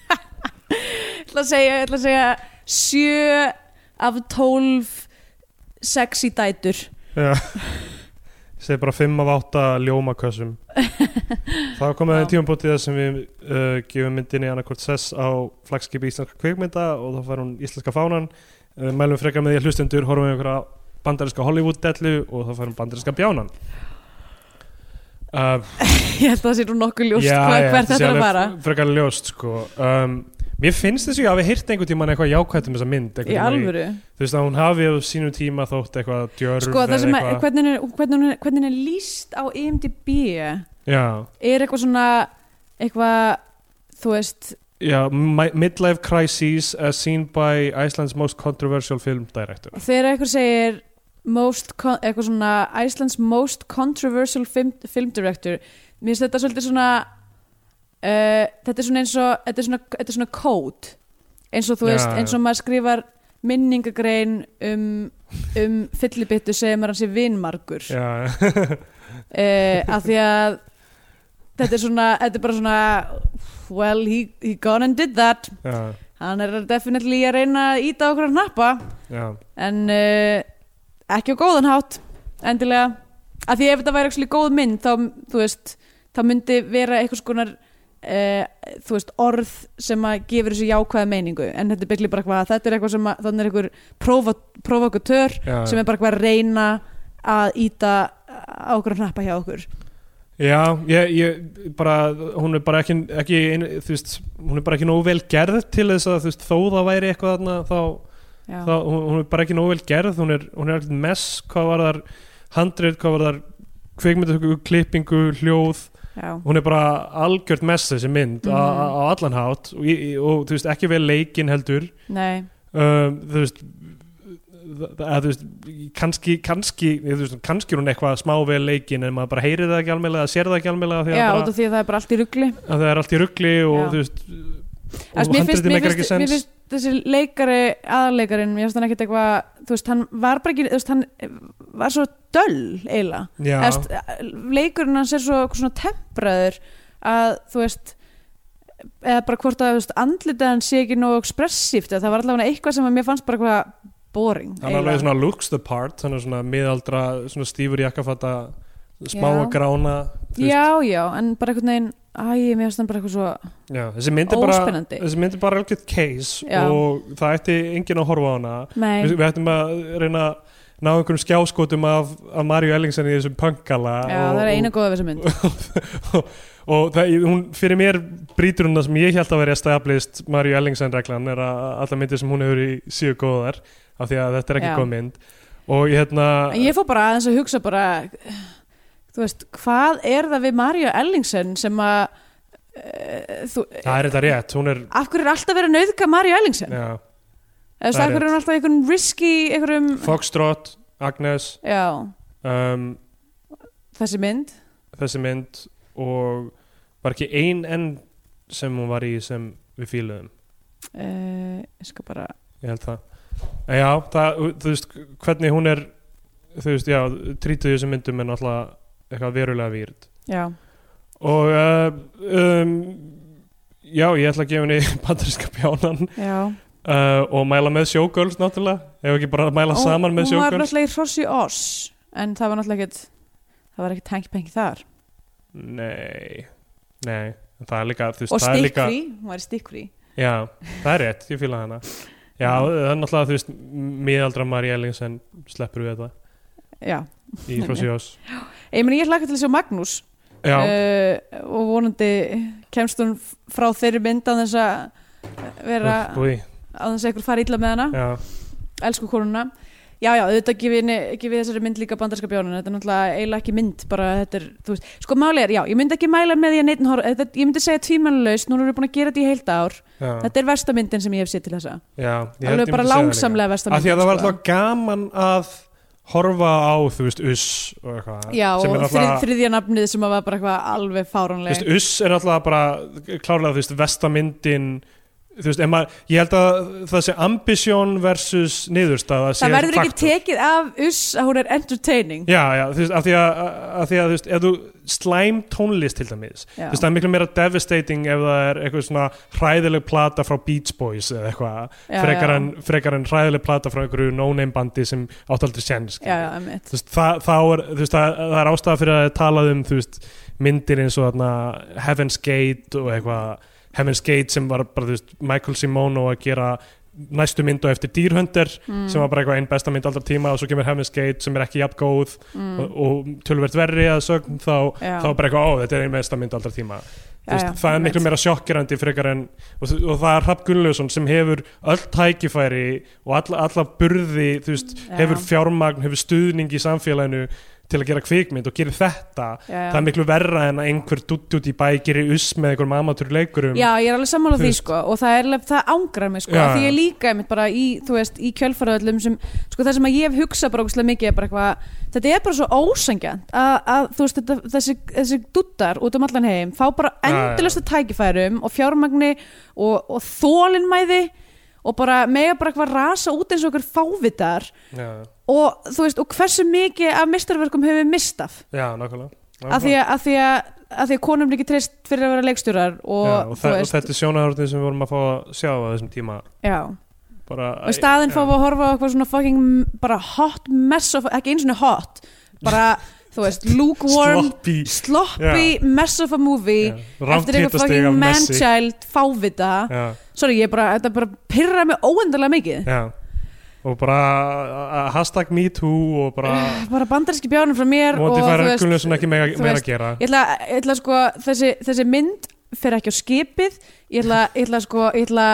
Ég ætla að segja, ég ætla að segja sjö af tólf sexy dætur já. Ég segi bara 5 af 8 ljómakössum þá komið Já. það tímabótið þar sem við uh, gefum myndinni annarkort sess á flagskipi íslenska kvikmynda og þá fær hún íslenska fánan uh, mælum frekar með því að hlustendur horfum við einhverja bandarinska Hollywood-dellu og þá fær hún bandarinska bjánan uh, Ég held að það sé nú nokkuð ljóst Já, hvað, já, hvert þetta sé þetta er að alveg fara frekar ljóst sko um, mér finnst þessu ég hafi hýrt einhvern tímann eitthvað jákvæmt um þessa mynd einhvern Í tímann alvöru þú veist að hún hafi á sínum tíma þótt eitthvað djörf Sko það eða sem að, eitthvað hvernig hún er, hvernig hún er, hvernig hún er líst á IMDb já, er eitthvað svona eitthvað, þú veist já, mi- midlife crises as seen by Iceland's most controversial film director þegar eitthvað segir most, con- eitthvað svona Iceland's most controversial film, film director mér finnst þetta svolítið svona uh, þetta er svona eins og þetta er svona, þetta er svona code eins og þú Já, veist, já. eins og maður skrifar minningagrein um, um fyllibittu segir maður hans í vinmargur uh, já, af því að þetta er svona, þetta er bara svona well, he, he gone and did that já, hann er definitely að reyna að íta okkur að nappa já en uh, ekki á góðan hátt endilega af því ef þetta væri ekki góð mynd þá, þú veist, þá myndi vera eitthvað skonar Uh, þú veist, orð sem að gefur þessu jákvæða meiningu en þetta er byggli bara hvað þetta er eitthvað sem að þannig er einhver prófa, provokatör já, sem er bara hvað að reyna að íta á okkur að hnappa hjá okkur já ég, ég bara, hún er bara ekki, ekki ein, þú veist, hún er bara ekki nógu vel gerð til þess að þú veist, þó það væri eitthvað þarna þá Já, þá, hún, hún er bara ekki nógu vel gerð hún er, hún er alveg mess hvað var þar handrið, hvað var þar kvikmyndatöku, klippingu, hljóð já, hún er bara algjört mess þessi mynd Mhm. mm. á allan hátt og, ég- og þú veist, ekki vel leikin heldur nei um, þú veist það- að, þú veist, kannski kannski, ég, þú veist, kannski er hún eitthvað smá vel leikin en maður bara heyrir það ekki almennlega eða sér það ekki almennlega því að, Já, út bara, af því að það er bara allt í rugli að það er allt í rugli og Já. þú veist Þú veist, og mér finnst, handriðið mér, meikar ekki finnst, mér sens finnst þessi leikari aðarleikarin, mér finnst hann ekkert eitthvað þú veist, hann var bara ekki, þú veist, hann eh, var svo döll eiginlega já, Þú veist, leikurinn hans er svo, svona tempraður að þú veist eða bara hvort að þú veist, andlitið hann sé ekki nógu ekspressíft eða það var allavega eitthvað sem að mér fannst bara eitthvað boring hann er eiginlega. alveg svona looks the part hann er svona miðaldra, svona stífur jakkafata smá Já. og grána þú veist. já, já, en bara einhvern veginn æ, mér finnst hann bara eitthvað svo Já, þessi mynd er bara, Óspennandi. þessi mynd er bara algjörð case Já. og það ætti enginn að horfa á hana við, nei, við ættum að reyna að ná einhverjum skjáskotum af, af Maríu Ellingsen í þessum punkala já, það er eina góða við þessa mynd og það, hún, fyrir mér brýtur hún það sem ég held að vera established Maríu Ellingsen reglan er að allar myndir sem hún hefur í síðu góðar af því að þetta er ekki Já. góð mynd og ég hérna En ég fór bara aðeins að hugsa bara þú veist, hvað er það við Marja Ellingsen sem að uh, þú, það er þetta rétt, hún er af hverju er alltaf verið að nauðka Marja Ellingsen? já, Eða þú veist, það er af hverju er hún alltaf í einhverjum risky, einhverjum Foxtrot, Agnes já, um, þessi mynd þessi mynd og var ekki ein enn sem hún var í sem við fíluðum uh, ég skal bara ég held það En já, það, þú veist, hvernig hún er þú veist, já, trýtuð í þessum myndum en alltaf eitthvað verulega výrd já, og uh, um, já, ég ætla að gefa henni bandarinska bjánan já uh, og mæla með sjógöls náttúrulega, ef ekki bara að mæla Og saman með hún var sjógöls náttúrulega í Hrossi Oss en það var náttúrulega ekkit það var ekkit hengi-pengi þar nei, nei, en það er líka þú veist, og það er líka, stikkfrí, hún var í stikkfrí já, það er rétt, ég fíla hana Já, Mhm. það er náttúrulega, þú veist, miðaldra María Ellingsen sleppur við þetta já, í Frossi Ós. ég meni ég hlakka til að sjá Magnús Já, uh, og vonandi kemst hún frá þeirri mynd að þess að vera úff, búi, að þess að ykkur fara illa með hana já, elsku konuna já, já, auðvitað gefið henni- gefið þessari mynd líka bandarska bjónin þetta er náttúrulega eiginlega ekki mynd bara þetta er, þú veist, sko máli er, já, ég myndi ekki mæla með því að neitt horf, þetta, ég myndi segja tvímanlaust núna erum við búin að gera þetta í heilt ár já, þetta er versta myndin sem ég hef séð til þessa já. Ég held alveg ég bara myndi segja það líka. langsamlega versta Af því myndin að það var sko. alltaf gaman að horfa á, þú veist, uss og eitthvað. já, sem og er þrið, náttúrulega- þriðja nafnið sem að var bara eitthvað alveg Þú veist, fáránleg uss er alltaf bara klárlega, þú veist, vestamyndin þú veist, ef maður, ég held að það sé ambisjón versus niðurstaða sé það verður ekki faktor. tekið af uss að hún er entertaining Já, já, þú veist, af því að, af því að þú veist, ef þú slæm tónlist til dæmis, Já. þú veist, það er miklu meira devastating ef það er eitthvað svona hræðileg plata frá Beach Boys eða eitthvað, Já, frekar, já. En, frekar en hræðileg plata frá einhverju no-name bandi sem átt aldrei sjens. já, já, einmitt. Þú veist, það, þá er, þú veist, það, það er ástæða fyrir að það er talað um, þú veist, myndir eins og þarna Heaven's Gate og eitthvað, Heaven's Gate sem var bara, þú veist, Michael Simone að gera næstu mynd og eftir dýrhöndir Mm. sem var bara eitthvað einn besta mynd aldra tíma og svo kemur Heaven's Gate sem er ekki jafn góð mm, og, og tölvert verri að sögn þá, já, þá bara eitthvað, ó, þetta er einn besta mynd aldra tíma já, já, veist, já, það er einmitt. miklu meira sjokkirandi frekar en og, þ- og það er Hrafn Gunnlaugsson sem hefur öll tækifæri og alla, alla burði þú veist, Já. hefur fjármagn, hefur stuðning í samfélaginu til að gera kvikmynd og gerir þetta já, já. það er miklu verra en að einhver dutt út í bæ gerir uss með einhverjum amatúr leikurum Já, ég er alveg sammála Þú því veist. sko og það er alveg, það ángrar mig sko Já, já, því já. ég líka einmitt bara í, þú veist, í kjölfaraöllum sem, sko það sem að ég hef hugsað bara ógustlega mikið er bara eitthvað, þetta er bara svo ósangjant að, að þú veist, þetta, þessi, þessi duttar út um allan heim fá bara Já, já. endalösta tækifærum og fjármagni og, og þólinmæði og bara mega bara eitthvað rasa út eins og okkur fávitar já, og þú veist, og hversu mikið af mistarverkum hefur við mistaf já nákvæmlega af því að, að, því að, að því að konum er ekki treyst fyrir að vera leikstjórar og, Já, og, þú það, og veist, þetta er sjónahörðin sem við vorum að fá að sjá á þessum tíma já bara, og í staðinn Já. fáum við að horfa á eitthvað svona fucking m- bara hot mess of, ekki eins og hot bara, þú veist, lukewarm sloppy sloppy mess of a movie rátt eftir eitthvað hittasteg fucking af messi man-child fávita, já, sorry, ég bara þetta bara pyrra mig óendalega mikið já og bara a- a- hashtag me too og bara bara bandaríski bjánum frá mér og móti þú færa veist, Gunnlaugsson ekki meira, þú meira veist, að gera ég ætla, ég ætla sko þessi, þessi mynd fer ekki á skipið ég ætla, ég ætla sko ég ætla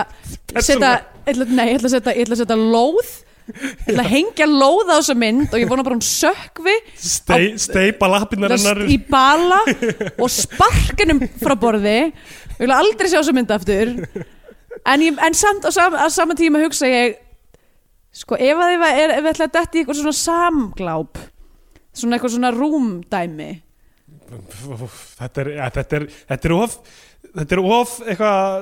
að setja ég ætla- nei, ég ætla að setja- ég ætla að setja lóð ég ætla að hengja lóð á þessa mynd og ég vona bara hún sökvi Stei, steipa lappinnar hennar í bala og sparkinum frá borði ég vil aldrei sjá þessa mynd aftur en, ég, en samt á sam, að sama tíma hugsa ég sko ef að þið er, ef ætla að detti eitthvað svona samgláp svona eitthvað svona rúmdæmi þetta er, ja, þetta er þetta er of þetta er of eitthvað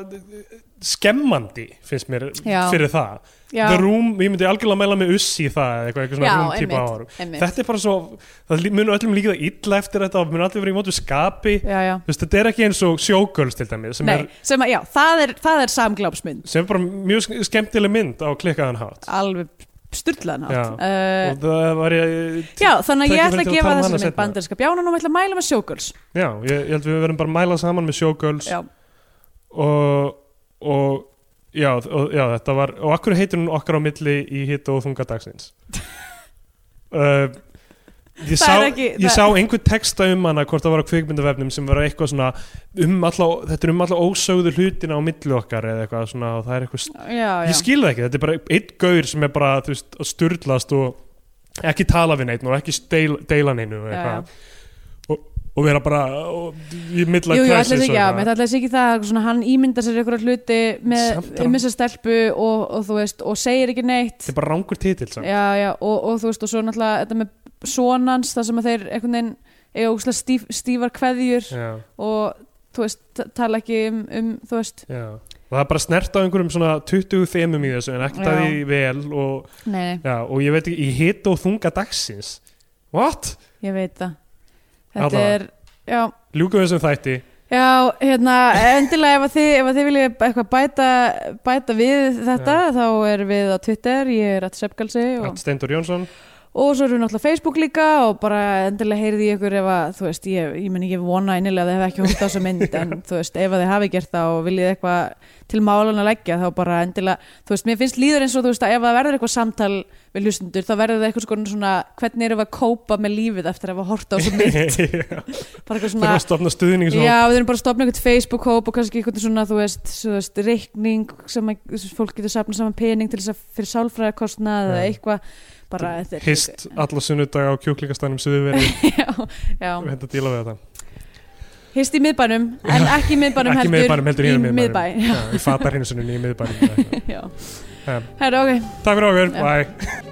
skemmandi finnst mér Já. fyrir það já, The Room, ég myndi algjörlega mæla með uss í það eða eitthvað, eitthvað svona Já, Room típa einmitt, árum einmitt. þetta er bara svo, það mun öllum líka illa eftir þetta og mun allir verið í mótu skapi já, já. Þú veist, þetta er ekki eins og showgirls til dæmi sem, Nei, er, sem að, já, það er, það er samglápsmynd sem er bara mjög sk- skemmtileg mynd á klikkaðan hát alveg styrlaðan Já. átt já. og það var ég eh. já, þannig að ég Tækifæri ætla að til að gefa tala um hana þessari mynd seinna. bandarinska bjánan og ég ætla að mæla með sjókuls já, ég, ég held við verðum bara að mæla saman með showgirls já, og, og já, og, já, þetta var og akkur heitir hún okkar á milli í hitt og þunga dagsins uh, ég, Það sá, er ekki- ég það- sá einhver texta um hana hvort það var á kvikmyndavefnum sem var eitthvað svona um alla, þetta er um alla ósögðu hlutina á milli okkar eða eitthvað svona og það er eitthvað, st- já, ég já, skil það ekki þetta er bara einn gaur sem er bara þú veist, að sturlast og ekki tala við neitt og ekki deil, deila neinu og Já, eitthvað og vera bara og, í milla Jú, jú, ætlaði sig, já, mér ætlaði sig ekki það eitthvað svona, hann ímyndar sér einhverja hluti með, Samt er hann- með sér stelpu og, og þú veist, og segir ekki neitt þetta er bara rangur titill samt. já, já, og, og þú veist, og svo náttúrulega þetta með sonans, það sem að þeir einhvern veginn eiga ógustlega stíf, stífar kveðjur Já, og þú veist, ta- tala ekki um, um þú veist, já. Og það er bara snert á einhverjum svona 20 þemum í þessu en ekkert Já. að því vel og, nei, já, og ég veit ekki, í hita og þunga dagsins What? nei ég veit það Alla. þetta er, já Ljúkum við þessum þætti Já, hérna, endilega ef að þið, ef að þið viljið eitthvað bæta, bæta við þetta, þá erum við á Twitter, ég er að Seppgalsi og Allt Steindur Jónsson og svo erum við náttúrulega Facebook líka og bara endilega heyrði ég ykkur ef að þú veist, ég, ég meni ég vona einilega að þið hef ekki hótt á þessu mynd en þú veist, ef að þið hafi gert það og viljið eitthvað til málan að leggja þá bara endilega, þú veist, mér finnst líður eins og þú veist að ef það verður eitthvað samtal við hlustundur þá verður það eitthvað skona svona hvernig erum við að kópa með lífið eftir að hafa horta á svo mynd þurfa bara eitthvað svona, að stofna stuðning í svona- já, við erum bara að stopna eitthvað Facebook-hóp og kannski eitthvað svona, þú veist, svo, veist reikning sem að, þú veist, fólk getur safna saman pening til þess að fyrir sálfræðarkostnað eða Já. eitthvað, bara þetta er- hist alla sunnudag á kjúklingastænum sem við verðum já, já. hérna að díla við þetta Hist í miðbænum, en ekki í miðbænum ekki um heldur, miðbænum heldur í hérna miðbæ miðbænum Já, í fatarhinsunum í miðbænum Já, Já. herra, ok takk fyrir okkur, Já. bye